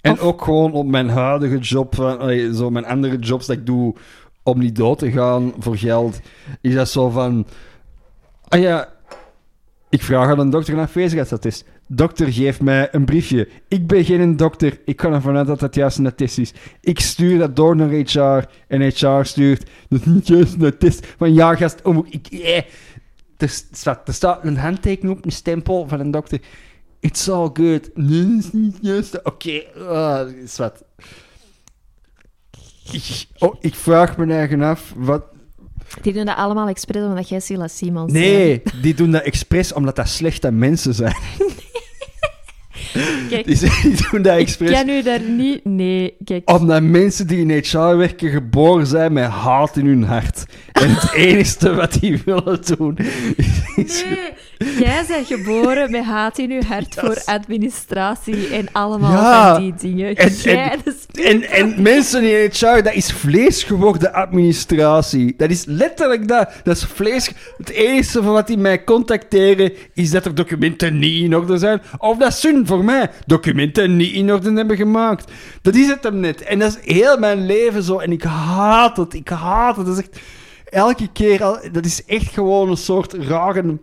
S2: En
S1: Of-
S2: ook gewoon op mijn huidige job, van, allee, zo mijn andere jobs dat ik doe om niet dood te gaan voor geld, is dat zo van... Ah ja, ik vraag aan een dokter een afwezigheidsattest. Dokter, geef mij een briefje. Ik ben geen dokter. Ik kan ervan uit dat dat juist een attest is. Ik stuur dat door naar HR. En HR stuurt... Dat is niet juist een attest. Van ja, gast... Om, ik, eh. er, staat, er staat een handtekening op, een stempel van een dokter. It's all good. Nee, dat is niet juist. Oké, ah, is wat. Ik, oh, ik vraag me eigen af... Wat,
S1: Die doen dat allemaal expres omdat jij Silas Simons bent.
S2: Nee, die doen dat expres omdat dat slechte mensen zijn.
S1: Kijk,
S2: Die, die doen dat
S1: Ik
S2: expres Oh,
S1: ken u daar niet. Nee, kijk.
S2: omdat mensen die in HR werken geboren zijn met haat in hun hart. En het enige wat die willen doen is...
S1: Nee, jij bent geboren met haat in uw hart
S2: Ja,
S1: voor
S2: s-
S1: administratie en allemaal
S2: Ja,
S1: van die dingen. jij,
S2: en-
S1: dus-
S2: en-
S1: dat is-
S2: En, en mensen in HR, dat is vlees geworden administratie. Dat is letterlijk dat. Dat is vlees. Het enige van wat die mij contacteren is dat er documenten niet in orde zijn. Of dat ze hun voor mij documenten niet in orde hebben gemaakt. Dat is het hem net. En dat is heel mijn leven zo. En ik haat het. Ik haat het. Dat is echt elke keer. Al, dat is echt gewoon een soort rare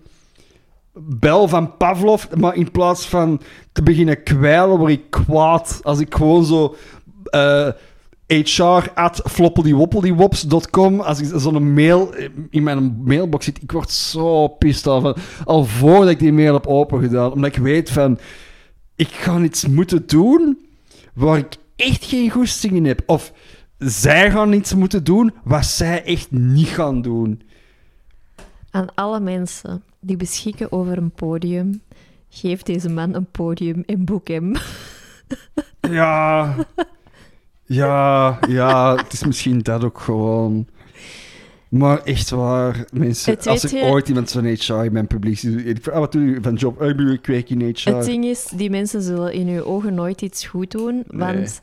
S2: bel van Pavlov, maar in plaats van te beginnen kwijlen, word ik kwaad. Als ik gewoon zo eh HR at floppeldiewoppeldywops.com, als ik zo'n mail eh, in mijn mailbox zit, ik word zo pissed af. Al- Al voordat ik die mail heb opengedaan, omdat ik weet van, ik ga iets moeten doen waar ik echt geen goesting in heb. Of zij gaan iets moeten doen wat zij echt niet gaan doen.
S1: Aan alle mensen die beschikken over een podium, geef deze man een podium en boek hem.
S2: Ja. Ja, ja, het is misschien dat ook gewoon. Maar echt waar, mensen.
S1: Het
S2: Als
S1: weet
S2: ik
S1: je-
S2: ooit iemand van HR in mijn publiek zie, ik vraag, ah, wat doe je van job? Ah, Ik ben kweek in
S1: Het
S2: HR.
S1: ding is, die mensen zullen in uw ogen nooit iets goed doen, want...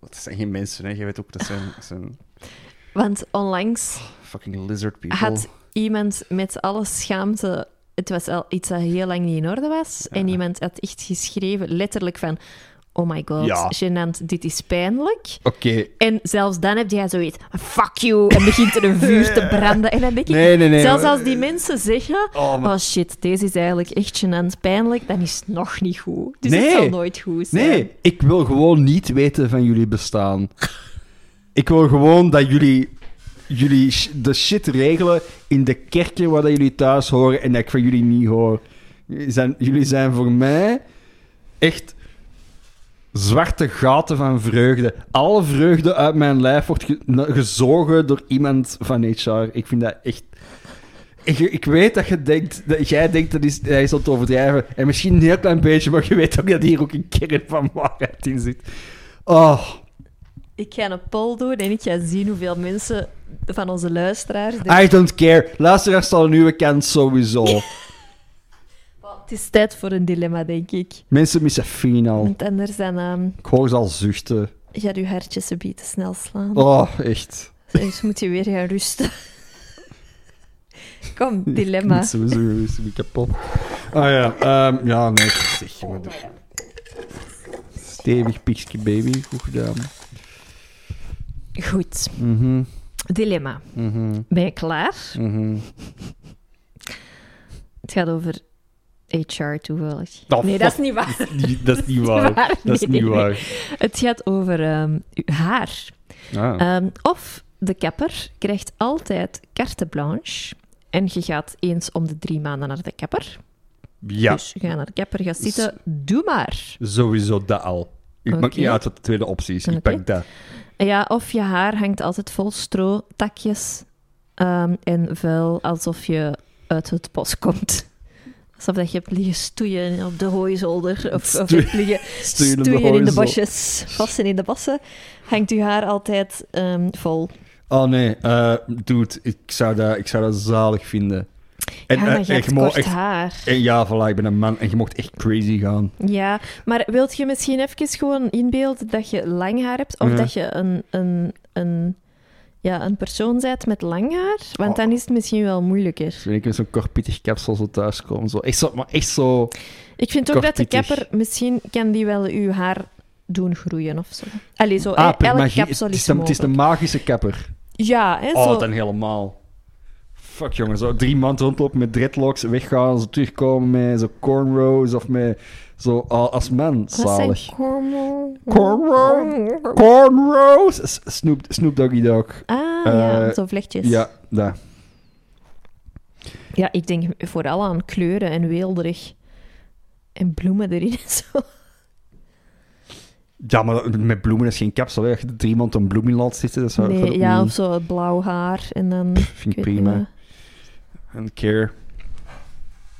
S4: Dat zijn geen mensen, hè. Je weet ook, dat zijn, dat zijn
S1: Want onlangs
S4: fucking lizard people.
S1: had iemand met alle schaamte. Het was al iets dat heel lang niet in orde was. En iemand had echt geschreven, letterlijk van... Oh my god,
S2: Ja.
S1: gênant, dit is pijnlijk.
S2: Oké.
S1: En zelfs dan heb jij zoiets... Fuck you! En begint er een vuur te branden. En dan denk ik...
S2: Nee, nee, nee.
S1: zelfs
S2: maar-
S1: als die mensen zeggen...
S2: Oh, maar-
S1: Oh shit, deze is eigenlijk echt gênant pijnlijk. Dan is het nog niet goed. Dus
S2: Nee.
S1: het zal nooit goed zijn.
S2: Nee, ik wil gewoon niet weten van jullie bestaan. Ik wil gewoon dat jullie, jullie sh- de shit regelen in de kerken waar dat jullie thuis horen en dat ik van jullie niet hoor. Jullie zijn, jullie zijn voor mij echt zwarte gaten van vreugde. Alle vreugde uit mijn lijf wordt ge- na- gezogen door iemand van HR. Ik vind dat echt ik, ik weet dat je denkt, dat jij denkt dat is, hij is aan het overdrijven. En misschien een heel klein beetje, maar je weet ook dat hier ook een kern van waarheid in zit. Oh,
S1: Ik ga een poll doen en ik ga zien hoeveel mensen van onze luisteraars... er-
S2: I don't care. Luisteraars zal een nieuwe kans sowieso.
S1: Het is tijd voor een dilemma, denk ik.
S2: Mensen missen final.
S1: Want anders dan ehm,
S2: Ik hoor ze al zuchten.
S1: gaat uw hartje ze te snel slaan.
S2: Oh, echt.
S1: Dus moet je weer gaan rusten. Kom,
S2: Ik
S1: dilemma.
S2: moet sowieso ik ben kapot. Ah ja, ehm, ja, nee. Zeg, maar doe. Stevig pixie baby, goed gedaan.
S1: Goed.
S4: Mhm,
S1: Dilemma.
S4: mhm,
S1: Ben je klaar?
S4: mhm.
S1: Het gaat over HR toevallig.
S2: Oh,
S1: nee,
S2: fuck.
S1: dat is niet waar.
S2: Dat is niet waar. Dat is
S1: Nee,
S2: niet
S1: nee, nee.
S2: waar.
S1: Het gaat over ehm, uw haar.
S2: Oh.
S4: Ah.
S1: Ehm, of de kapper krijgt altijd carte blanche. En je gaat eens om de drie maanden naar de kapper.
S2: Ja,
S1: Dus je gaat naar de kapper, gaat zitten. Doe maar.
S2: Dus- sowieso dat al. Ik maak
S1: Oké.
S2: niet uit wat de tweede optie is. Ik
S1: Oké.
S2: pak dat.
S1: Ja, of je haar hangt altijd vol stro, takjes ehm, en vuil, alsof je uit het bos komt. Alsof dat je hebt liggen stoeien op de hooizolder of, of
S2: Stoe-
S1: hebt liggen
S2: stoeien op de
S1: stoeien in de
S2: hooizolder.
S1: bosjes, vassen in de bossen. Hangt je haar altijd ehm, vol.
S2: Oh nee, eh dude, ik zou, dat, ik zou dat zalig vinden. En,
S1: ja,
S2: eh,
S1: maar je
S2: en
S1: hebt
S2: mag
S1: kort
S2: echt,
S1: haar.
S2: en ja, voilà, ik ben een man en je mocht echt crazy gaan.
S1: Ja, maar wilt je misschien even gewoon inbeelden dat je lang haar hebt? Of
S2: Ja.
S1: dat je een, een, een, ja, een persoon bent met lang haar? Want
S4: Oh.
S1: dan is het misschien wel moeilijker.
S4: Dus weet ik met zo'n kortpittig kapsel zo thuiskomen. Zo. Echt zo, maar echt
S2: Oh,
S4: zo...
S1: Ik vind ook dat de
S4: Kortpietig.
S1: kapper, misschien kan die wel uw haar doen groeien of zo. Allee, zo,
S2: Ah,
S1: hè,
S2: per
S1: elk
S2: magie,
S1: kapsel
S2: het,
S1: is,
S2: is een, het is
S1: mogelijk.
S2: een magische kapper.
S1: Ja, hè,
S2: Oh,
S1: zo.
S2: dan helemaal. Fuck jongen, zo drie maanden rondlopen met dreadlocks, weggaan, zo terugkomen met zo cornrows of met zo ah, als man,
S1: Wat zijn
S2: zalig.
S1: cornrow-
S2: Cornrow? Cornrows? S- Snoop, Snoop Doggy Dog.
S1: Ah,
S2: Eh,
S1: ja, zo vlechtjes.
S2: Ja, daar.
S1: Ja, ik denk vooral aan kleuren en weelderig. En bloemen erin en zo.
S2: Ja, maar dat- met bloemen is geen kapsel. Hè. Als je drie maanden een bloem in laat zitten, dat zou dat
S1: Nee,
S2: ook
S1: ja,
S2: niet-
S1: of zo blauw haar en dan...
S2: mm. vind ik
S1: weet niet
S2: prima.
S1: wat.
S2: Een keer.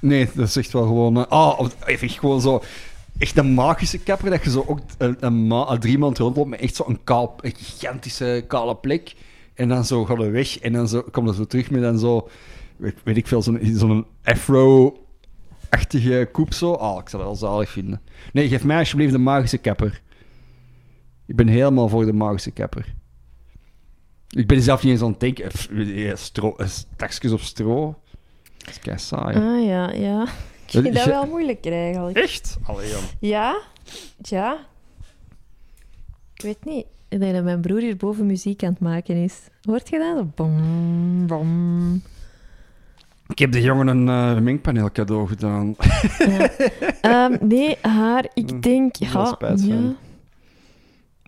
S2: Nee, dat is echt wel gewoon. eh, Ah, oh, even echt gewoon zo. Echt een magische kapper dat je zo ook een, een, ma- een drie maand rondloopt met echt zo'n kaal, een gigantische kale plek. En dan zo gaan we weg en dan zo, kom je zo terug met dan zo, weet, weet ik veel, zo'n zo'n afro-achtige koep zo. Ah, ik zou dat wel zalig vinden. Nee, geef mij alsjeblieft de magische kapper. Ik ben helemaal voor de magische kapper. Ik ben zelf niet eens aan het denken. Pff, eh, Stro, eh, takjes op stro. Dat is kei saai.
S1: Ah, ja, ja. Ik vind dat
S2: je-
S1: wel moeilijk eigenlijk.
S2: Echt? Allee, jong.
S1: Ja, ja. Ik weet niet. Ik denk dat mijn broer hierboven muziek aan het maken is. Hoort je dat? Zo Bom, bom.
S2: Ik heb de jongen een eh, mengpaneel cadeau gedaan.
S1: Ja. Ehm, nee, haar.
S4: Hm,
S1: Ik denk...
S4: er wel
S1: Ja,
S4: spijt van.
S1: ja.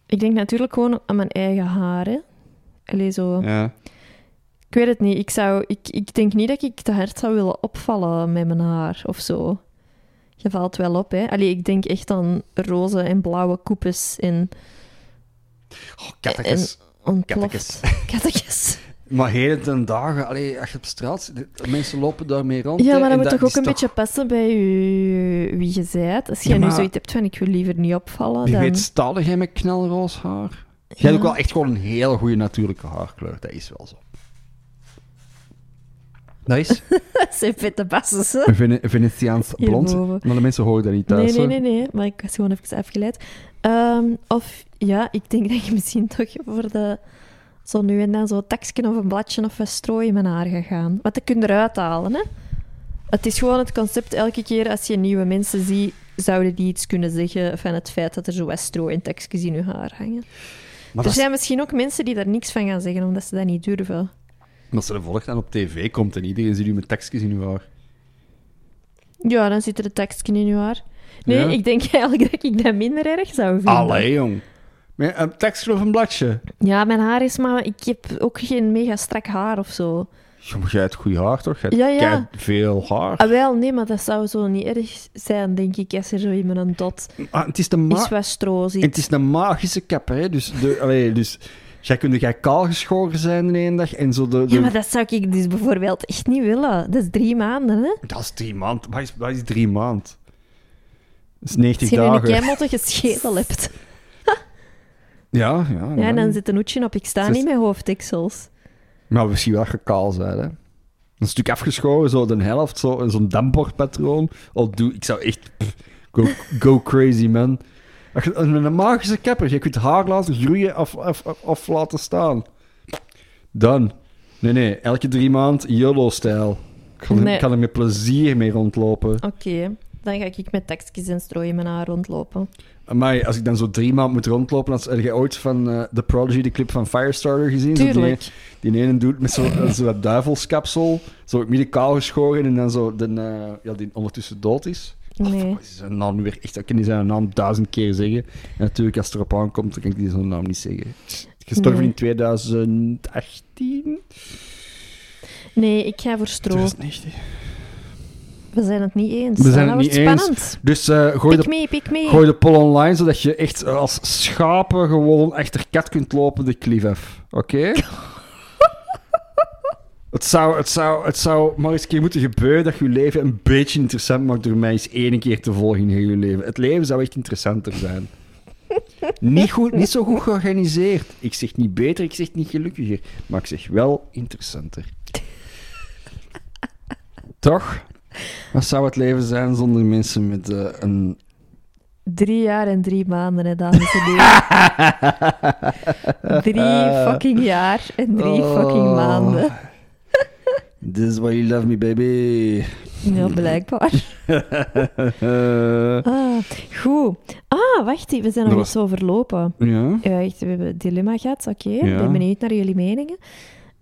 S1: Ik denk natuurlijk gewoon aan mijn eigen haar, hè. Allee, zo.
S4: Ja.
S1: Ik weet het niet. Ik, zou, ik, ik denk niet dat ik te hard zou willen opvallen met mijn haar of zo. Je valt wel op, hè. Allee, ik denk echt aan roze en blauwe koepes en
S2: Oh,
S1: eh,
S2: kattekes.
S1: ontploft... Kattekes.
S2: Maar heden ten dagen, allee, als je op straat zit, de mensen lopen daarmee rond.
S1: Ja,
S2: hè,
S1: maar
S2: en
S1: dat moet toch
S2: is
S1: ook een beetje passen bij je, wie je zijt. Als jij
S2: Ja,
S1: nu
S2: maar-
S1: zoiets hebt van ik wil liever niet opvallen,
S2: Wie
S1: dan...
S2: weet stalde jij met knelroos haar? Jij hebt ook wel echt gewoon een heel goede natuurlijke haarkleur. Dat is wel zo. Dat is
S1: Dat zijn vette bassen, hè.
S2: een Vene- Venetiaans blond.
S1: Hierboven.
S2: Maar de mensen horen dat niet thuis.
S1: Nee, nee,
S2: hoor.
S1: nee, nee. Maar ik was gewoon even afgeleid. Ehm, of ja, ik denk dat je misschien toch voor de... Zo nu en dan zo'n takje of een bladje of wat strooi in mijn haar gaat gaan. Want dat kun je eruit halen, hè. Het is gewoon het concept, elke keer als je nieuwe mensen ziet, zouden die iets kunnen zeggen van het feit dat er zo wat strooi en takjes in hun haar hangen.
S2: Maar
S1: er
S2: dat, is-
S1: zijn misschien ook mensen die daar niks van gaan zeggen, omdat ze dat niet durven.
S2: omdat ze de volgende dan op tv komt en iedereen ziet u met tekstjes in uw haar.
S1: Ja, dan zitten de tekstjes in je haar. Nee,
S2: Ja.
S1: ik denk eigenlijk dat ik dat minder erg zou vinden.
S2: Allee, jong. Met een tekstje of een bladje?
S1: Ja, mijn haar is maar... Ik heb ook geen mega strak haar of zo.
S2: Ja, maar jij hebt goed haar, toch? Jij hebt
S1: Ja, ja.
S2: kei veel haar.
S1: Ah, wel, nee, maar dat zou zo niet erg zijn, denk ik, als er zo iemand een dot
S2: Ah, het, is de
S1: is
S2: ma-
S1: wat stro
S2: en
S1: zit.
S2: het is een magische kapper, hè. Dus, de, allee, dus jij kunt jij kaal geschoren zijn de ene dag en zo de... de-
S1: Ja, maar dat zou ik dus bijvoorbeeld echt niet willen. Dat is drie maanden, hè?
S2: Dat is drie maand. Wat is, wat is drie maand? Dat is 90
S1: Als je nu een
S2: dagen.
S1: keimotte schedel hebt.
S2: Ja, ja.
S1: Ja, en
S2: nee.
S1: dan zit een hoedje op. Ik sta
S2: Zes-
S1: niet met hoofddeksels.
S2: Maar misschien wel gekaal zijn, hè. Een stuk afgeschoren, zo de helft, zo- zo'n dambordpatroon. Oh, doe, ik zou echt... pff, go, go crazy, man. Als je- Met een magische kapper, je kunt haar laten groeien of, of, of, of laten staan. Dan. Nee, nee, elke drie maand YOLO-stijl. Ik kan, er-
S1: Nee.
S2: ik kan er met plezier mee rondlopen.
S1: Oké. dan ga ik met tekstjes en strooi in mijn haar rondlopen.
S2: Maar als ik dan zo drie maanden moet rondlopen, als heb jij ooit van eh, The Prodigy, de clip van Firestarter gezien? Zo die-
S1: Tuurlijk.
S2: Die, ene doet met zo'n eh, zo'n duivelskapsel, zo midden kaal geschoren en dan zo, de, eh, ja, die ondertussen dood is.
S1: Nee.
S2: Wat is zijn naam nu weer echt? Ik kan die zijn naam duizend keer zeggen. En natuurlijk, als het erop aankomt, dan kan ik die zijn naam niet zeggen. Gestorven
S1: Nee.
S2: in 2018?
S1: nee, ik ga voor stro.
S2: 2019.
S1: We zijn het niet eens.
S2: We zijn
S1: Ah,
S2: het
S1: dat
S2: niet
S1: wordt
S2: eens.
S1: spannend.
S2: Dus eh, gooi,
S1: Pik
S2: de,
S1: mee, pik mee.
S2: gooi de poll online, zodat je echt eh, als schapen gewoon achter kat kunt lopen de klief af. Oké? het, zou, het, zou, het zou maar eens een keer moeten gebeuren dat je je leven een beetje interessant maakt door mij eens één keer te volgen in heel je leven. Het leven zou echt interessanter zijn. niet, goed, niet zo goed georganiseerd. Ik zeg niet beter, ik zeg niet gelukkiger. Maar ik zeg wel interessanter. Toch? Wat zou het leven zijn zonder mensen met eh, een
S1: Drie jaar en drie maanden, hè, dames en heren. drie fucking jaar en drie fucking
S2: Oh.
S1: maanden.
S2: This is why you love me, baby.
S1: Ja, blijkbaar. Ah, goed. Ah, wacht, we zijn nog
S2: Dat
S1: niet zo verlopen.
S2: ja.
S1: Ja, echt, we hebben het dilemma gehad, oké. Ik
S2: Ja.
S1: ben benieuwd naar jullie meningen.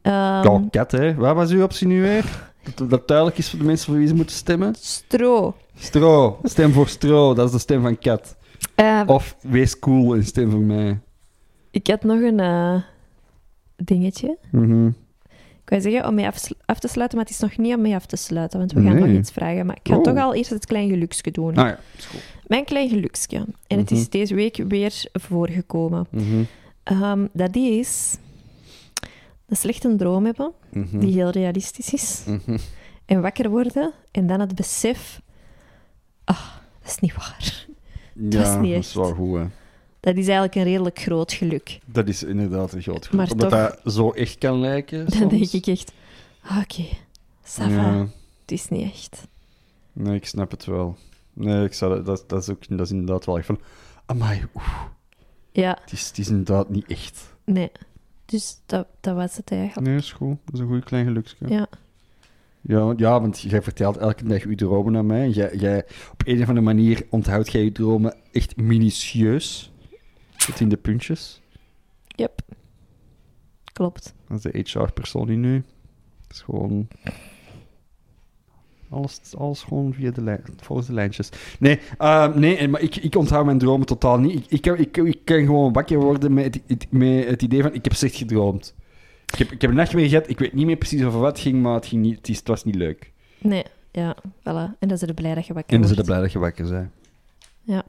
S1: Ehm,
S2: Ja, kat, hè. Waar was uw optie nu weer? Dat, dat duidelijk is voor de mensen voor wie ze moeten stemmen.
S1: Stro.
S2: Stro. Stem voor Stro. Dat is de stem van Kat.
S1: Ehm,
S2: Of wees cool en stem voor mij.
S1: Ik had nog een eh, dingetje.
S2: Mhm.
S1: Ik wou zeggen om mee af, af te sluiten, maar het is nog niet om mee af te sluiten, want we gaan
S2: Nee.
S1: nog iets vragen. Maar ik ga
S2: Oh.
S1: toch al eerst het klein geluksje doen.
S2: Ah ja, is goed.
S1: Mijn klein geluksje. En het is
S2: Mhm.
S1: deze week weer voorgekomen.
S2: Mhm.
S1: Ehm, dat is een slechte droom hebben,
S2: Mhm.
S1: die heel realistisch is.
S2: Mhm.
S1: En wakker worden en dan het besef... Ah, dat is niet waar.
S2: Ja,
S1: is niet
S2: dat
S1: echt.
S2: is wel goed, hè.
S1: Dat is eigenlijk een redelijk groot geluk.
S2: Dat is inderdaad een groot goed.
S1: Maar
S2: Omdat
S1: toch-
S2: dat zo echt kan lijken.
S1: Dan denk
S2: soms.
S1: ik echt... ah, Oké, ça va.
S2: Ja.
S1: Het is niet echt.
S2: Nee, ik snap het wel. Nee, ik zou dat, dat, dat is ook dat is inderdaad wel echt van. Amai, oeh,
S1: Ja,
S2: het is, het is inderdaad niet echt.
S1: nee. Dus dat, dat was het eigenlijk.
S4: Nee, is goed. Dat is een goed klein geluksje.
S1: Ja.
S2: Ja, want- ja, want jij vertelt elke dag uw dromen aan mij. Jij, jij, op een of andere manier onthoudt jij je dromen echt minutieus. Tot in de puntjes.
S1: Yep. Klopt.
S4: Dat is de HR-persoon die nu. Het is gewoon. Alles, alles gewoon via de lijn, volgens de lijntjes.
S2: Nee, eh, nee en- maar ik, ik onthoud mijn dromen totaal niet. Ik, ik, kan- ik, ik kan gewoon wakker worden met het, het- met het idee van: ik heb slecht gedroomd. Ik heb, ik heb een nachtmerrie gehad, ik weet niet meer precies over wat het ging, maar het, ging niet, het, is, het was niet leuk.
S1: Nee, ja, voilà. En dan zijn we blij dat je wakker
S2: En dan zijn
S1: wordt.
S2: we blij dat je wakker bent.
S1: Ja.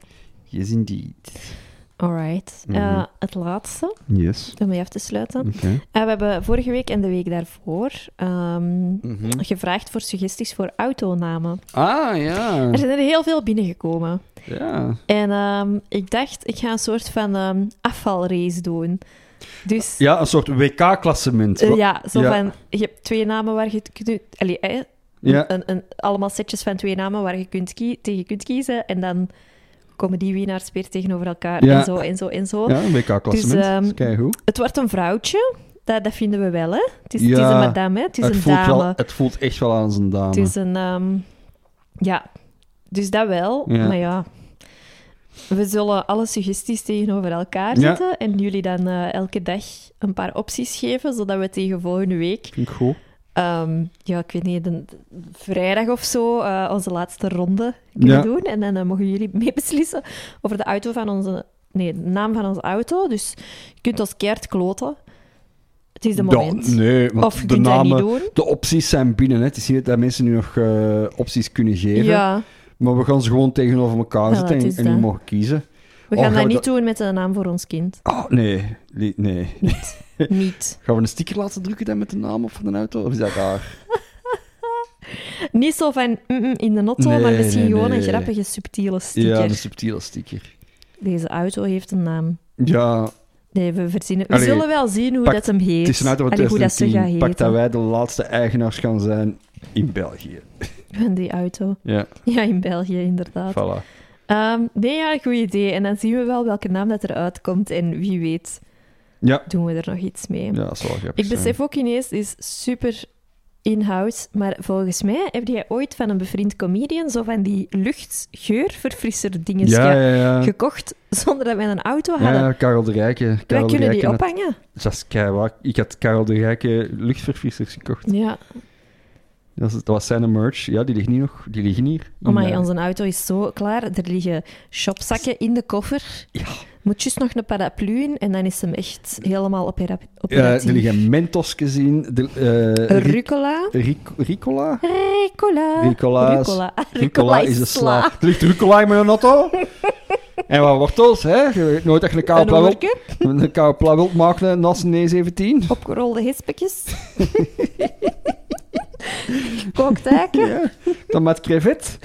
S2: Yes, indeed.
S1: Alright. Eh,
S2: Mhm.
S1: het laatste,
S4: Yes.
S1: om mee af te sluiten.
S2: Oké.
S1: Eh, we hebben vorige week en de week daarvoor ehm,
S2: Mhm.
S1: gevraagd voor suggesties voor autonamen.
S2: Ah, ja.
S1: Er zijn er heel veel binnengekomen.
S2: Ja.
S1: En ehm, ik dacht, ik ga een soort van ehm, afvalrace doen. Dus
S2: Ja, een soort WK-klassement.
S1: eh, ja, zo
S2: ja.
S1: van, je hebt twee namen waar je het kunt... Allee, eh,
S2: ja.
S1: Een, een, allemaal setjes van twee namen waar je kunt kie- tegen kunt kiezen. En dan komen die winnaars weer tegenover elkaar.
S2: Ja.
S1: En zo en zo en zo.
S2: Ja, een WK-klassement.
S1: Dus, ehm,
S2: Dat is keigoed.
S1: Het wordt een vrouwtje. Dat, dat vinden we wel, hè? Het is, het is
S2: Ja.
S1: een madame, hè? Het is
S2: het,
S1: een
S2: voelt
S1: dame.
S2: wel, het voelt echt wel aan zijn dame.
S1: Het is een... ehm, ja, dus dat wel.
S2: Ja.
S1: Maar ja, we zullen alle suggesties tegenover elkaar
S2: Ja.
S1: zetten. En jullie dan eh, elke dag een paar opties geven, zodat we tegen volgende week...
S2: Vind ik goed.
S1: ehm, ja, ik weet niet, een, vrijdag of zo, eh, onze laatste ronde kunnen
S2: Ja.
S1: doen. En dan eh, mogen jullie meebeslissen over de auto van onze... Nee, de naam van onze auto. Dus je kunt ons keert kloten. Het is de
S2: Ja,
S1: moment.
S2: nee, want
S1: of je
S2: de
S1: kunt dat
S2: namen...
S1: niet doen.
S2: De opties zijn binnen. Hè. Het is niet dat mensen nu nog eh, opties kunnen geven.
S1: Ja,
S2: Maar we gaan ze gewoon tegenover elkaar
S1: Ja,
S2: zetten
S1: dat
S2: en,
S1: is
S2: en die
S1: dat.
S2: mogen kiezen.
S1: we
S2: Oh,
S1: gaan
S2: gaan
S1: dat
S2: we
S1: niet
S2: dat-
S1: doen met een naam voor ons kind.
S2: Oh, nee. Li- Nee.
S1: Niet. Niet.
S2: Gaan we een sticker laten drukken dan met de naam op van de auto? Of is dat daar?
S1: Niet zo van mm, mm, in de notto,
S2: Nee,
S1: maar misschien
S2: nee,
S1: gewoon
S2: nee.
S1: een grappige, subtiele sticker.
S2: Ja, een subtiele sticker.
S1: Deze auto heeft een naam.
S2: Ja,
S1: Nee, we verzinnen. We
S2: Allee,
S1: zullen wel zien hoe
S2: pak-
S1: dat hem heet.
S2: Het is een auto van
S1: Allee, hoe dat ze gaat
S2: 2010.
S1: heten.
S2: Pak dat wij de laatste eigenaars gaan zijn in België.
S1: Van die auto.
S2: Ja,
S1: Ja, in België, inderdaad.
S2: voilà.
S1: Ehm, nee, ja, goed idee. En dan zien we wel welke naam dat eruit komt. En wie weet
S2: Ja,
S1: doen we er nog iets mee.
S2: ja dat is wel grappig.
S1: Ik besef ook ineens, het is super in-house. Maar volgens mij heb jij ooit van een bevriend comedian zo van die luchtgeurverfrisser dingen
S2: Ja, ja, ja.
S1: gekocht zonder dat wij een auto hadden.
S2: Ja, Karel de Rijke.
S1: wij
S2: Karel de
S1: kunnen die
S2: Rijke had-
S1: ophangen.
S2: Dat is keiwaar. Ik had Karel de Rijke luchtverfrissers gekocht.
S1: Ja,
S2: Dat was, dat was zijn merch. Ja, die ligt niet nog. Die liggen hier. In,
S1: maar
S2: eh,
S1: Oh onze auto is zo klaar. Er liggen shopzakken in de koffer.
S2: Ja.
S1: Moet juist nog een paraplu in en dan is hem echt helemaal opera
S2: ja,
S1: operatief.
S2: er liggen Mentos gezien. De, eh, Ri-
S1: Rucola.
S2: Ric- Ricola?
S1: Ricola.
S2: Ricola is-
S1: Rucola.
S2: Ricola is de sla. Er ligt Ricola in mijn auto. en wat wortels, hè? Je weet nooit dat je een koude
S1: Een
S2: pla wilt-
S1: ommerke,
S2: een koude pla wilt maken naast een E17.
S1: opgerolde hispetjes. Kooktaken.
S2: Ja. Dan met crevet.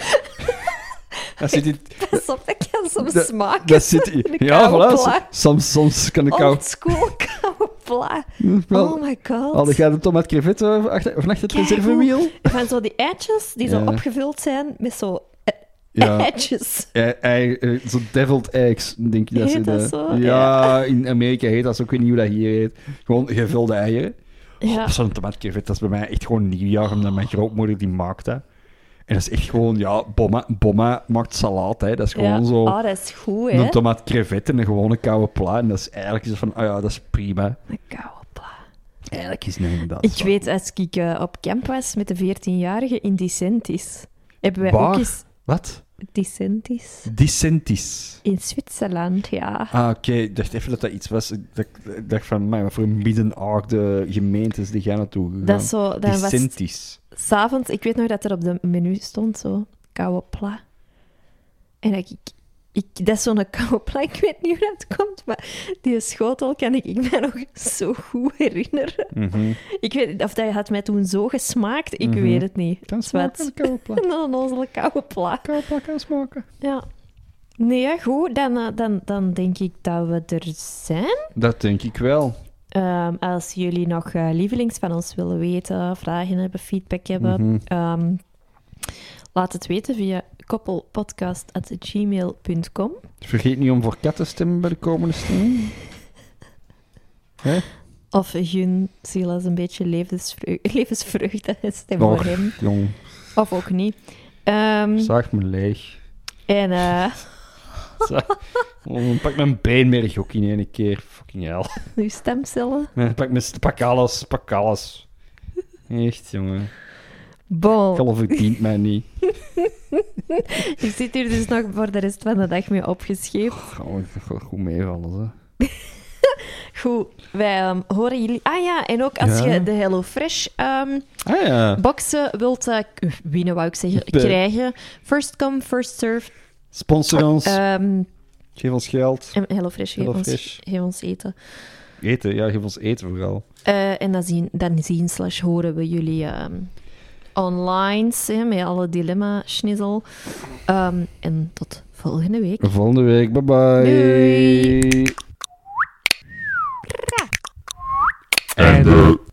S2: Dat zit in...
S1: Pas op, dat kan soms
S2: Dat-
S1: smaken.
S2: Dat zit in-
S1: De
S2: ja,
S1: koude
S2: voilà.
S1: pla.
S2: Soms, soms kan ik
S1: Old
S2: koud.
S1: school koude pla.
S2: Wel,
S1: Oh my god.
S2: Hadden jij de tomat crevet eh, achter, vannacht het
S1: Keigoed.
S2: reservewiel?
S1: Van zo die eitjes die zo
S2: Ja.
S1: opgevuld zijn met zo
S2: Ja.
S1: eitjes.
S2: Ei, ei, eh, Zo'n deviled eggs, denk ik dat ze
S1: Heet dat
S2: de-
S1: zo?
S2: Ja, in Amerika heet dat zo. Ik weet niet hoe dat hier heet. Gewoon gevulde eieren.
S1: Ja.
S2: Oh, Zo'n tomat crevet, dat is bij mij echt gewoon nieuwjaar, omdat mijn grootmoeder die maakt dat. En dat is echt gewoon, ja, bomma, bomma maakt salaat, hè. Dat is gewoon
S1: Ja.
S2: zo...
S1: Oh, dat is goed, hè?
S2: Een tomaat crevet en een gewone koude pla. En dat is eigenlijk zo van, oh ja, dat is prima.
S1: Een koude pla.
S2: Eigenlijk is het nou inderdaad
S1: Ik
S2: zo.
S1: weet, als ik eh, op camp was met de 14-jarige in Dicentis, hebben wij ook
S2: Waar?
S1: eens...
S2: Wat?
S1: Dicentis?
S2: Dissentis.
S1: In Zwitserland, ja.
S2: Ah, oké. Ik dacht even dat dat iets was. Ik dacht, ik dacht van, maar wat voor middenaarde gemeentes die gaan naartoe gegaan.
S1: Dat is zo... Dan was het
S2: Dissentis.
S1: s'avonds... Ik weet nog dat er op de menu stond, zo... Koude pla. En dat ik... Ik, dat is zo'n koude pla, ik weet niet hoe dat komt, maar die schotel kan ik, ik me nog zo goed herinneren.
S2: Mhm.
S1: Ik weet niet of dat had mij toen zo gesmaakt, ik
S2: Mhm.
S1: weet het niet.
S2: Kan
S1: Zwart.
S2: smaken, koude pla.
S1: Een onnozele koude pla.
S2: Koude pla kan smaken.
S1: Ja. Nee, ja, goed. Dan, eh, dan, dan denk ik dat we er zijn.
S2: Dat denk ik wel.
S1: Ehm, als jullie nog eh, lievelings van ons willen weten, vragen hebben, feedback hebben,
S2: Mhm.
S1: ehm, laat het weten via koppelpodcast.gmail.com.
S2: Vergeet niet om voor kat te stemmen bij de komende stem.
S1: Of gun Silas een beetje levensvreugde, levensvreugde en stem voor
S2: Och,
S1: hem.
S2: Jong,
S1: Of ook niet. Ehm,
S2: zaag me leeg.
S1: en eh,
S2: Zaag- Oh, pak mijn beenmerg ook in één keer. Fucking hell.
S1: uw stemcellen.
S2: Nee, pak, mijn, pak alles, pak alles. Echt, jongen.
S1: Bon.
S2: Geloof verdient mij niet.
S1: Ik zit hier dus nog voor de rest van de dag mee opgescheept.
S2: Gewoon gewoon goed meevallen, hè.
S1: Goed, wij ehm, horen jullie. Ah ja, en ook als
S2: Ja.
S1: je de HelloFresh ehm
S2: Ah ja.
S1: boxen wilt eh, k- winnen, wou ik zeggen,
S2: Be-
S1: krijgen. First come, first serve.
S2: Sponsor ons.
S1: Ehm
S2: geef ons geld.
S1: en HelloFresh, geef,
S2: HelloFresh.
S1: Ons, geef ons eten.
S2: Eten, ja, geef ons eten vooral.
S1: Eh, en dan zien, dan zien slash horen we jullie ehm online hè, met alle dilemma-schnizzel. Ehm, en tot volgende week.
S2: Volgende week, bye bye.
S1: Doei.
S5: And the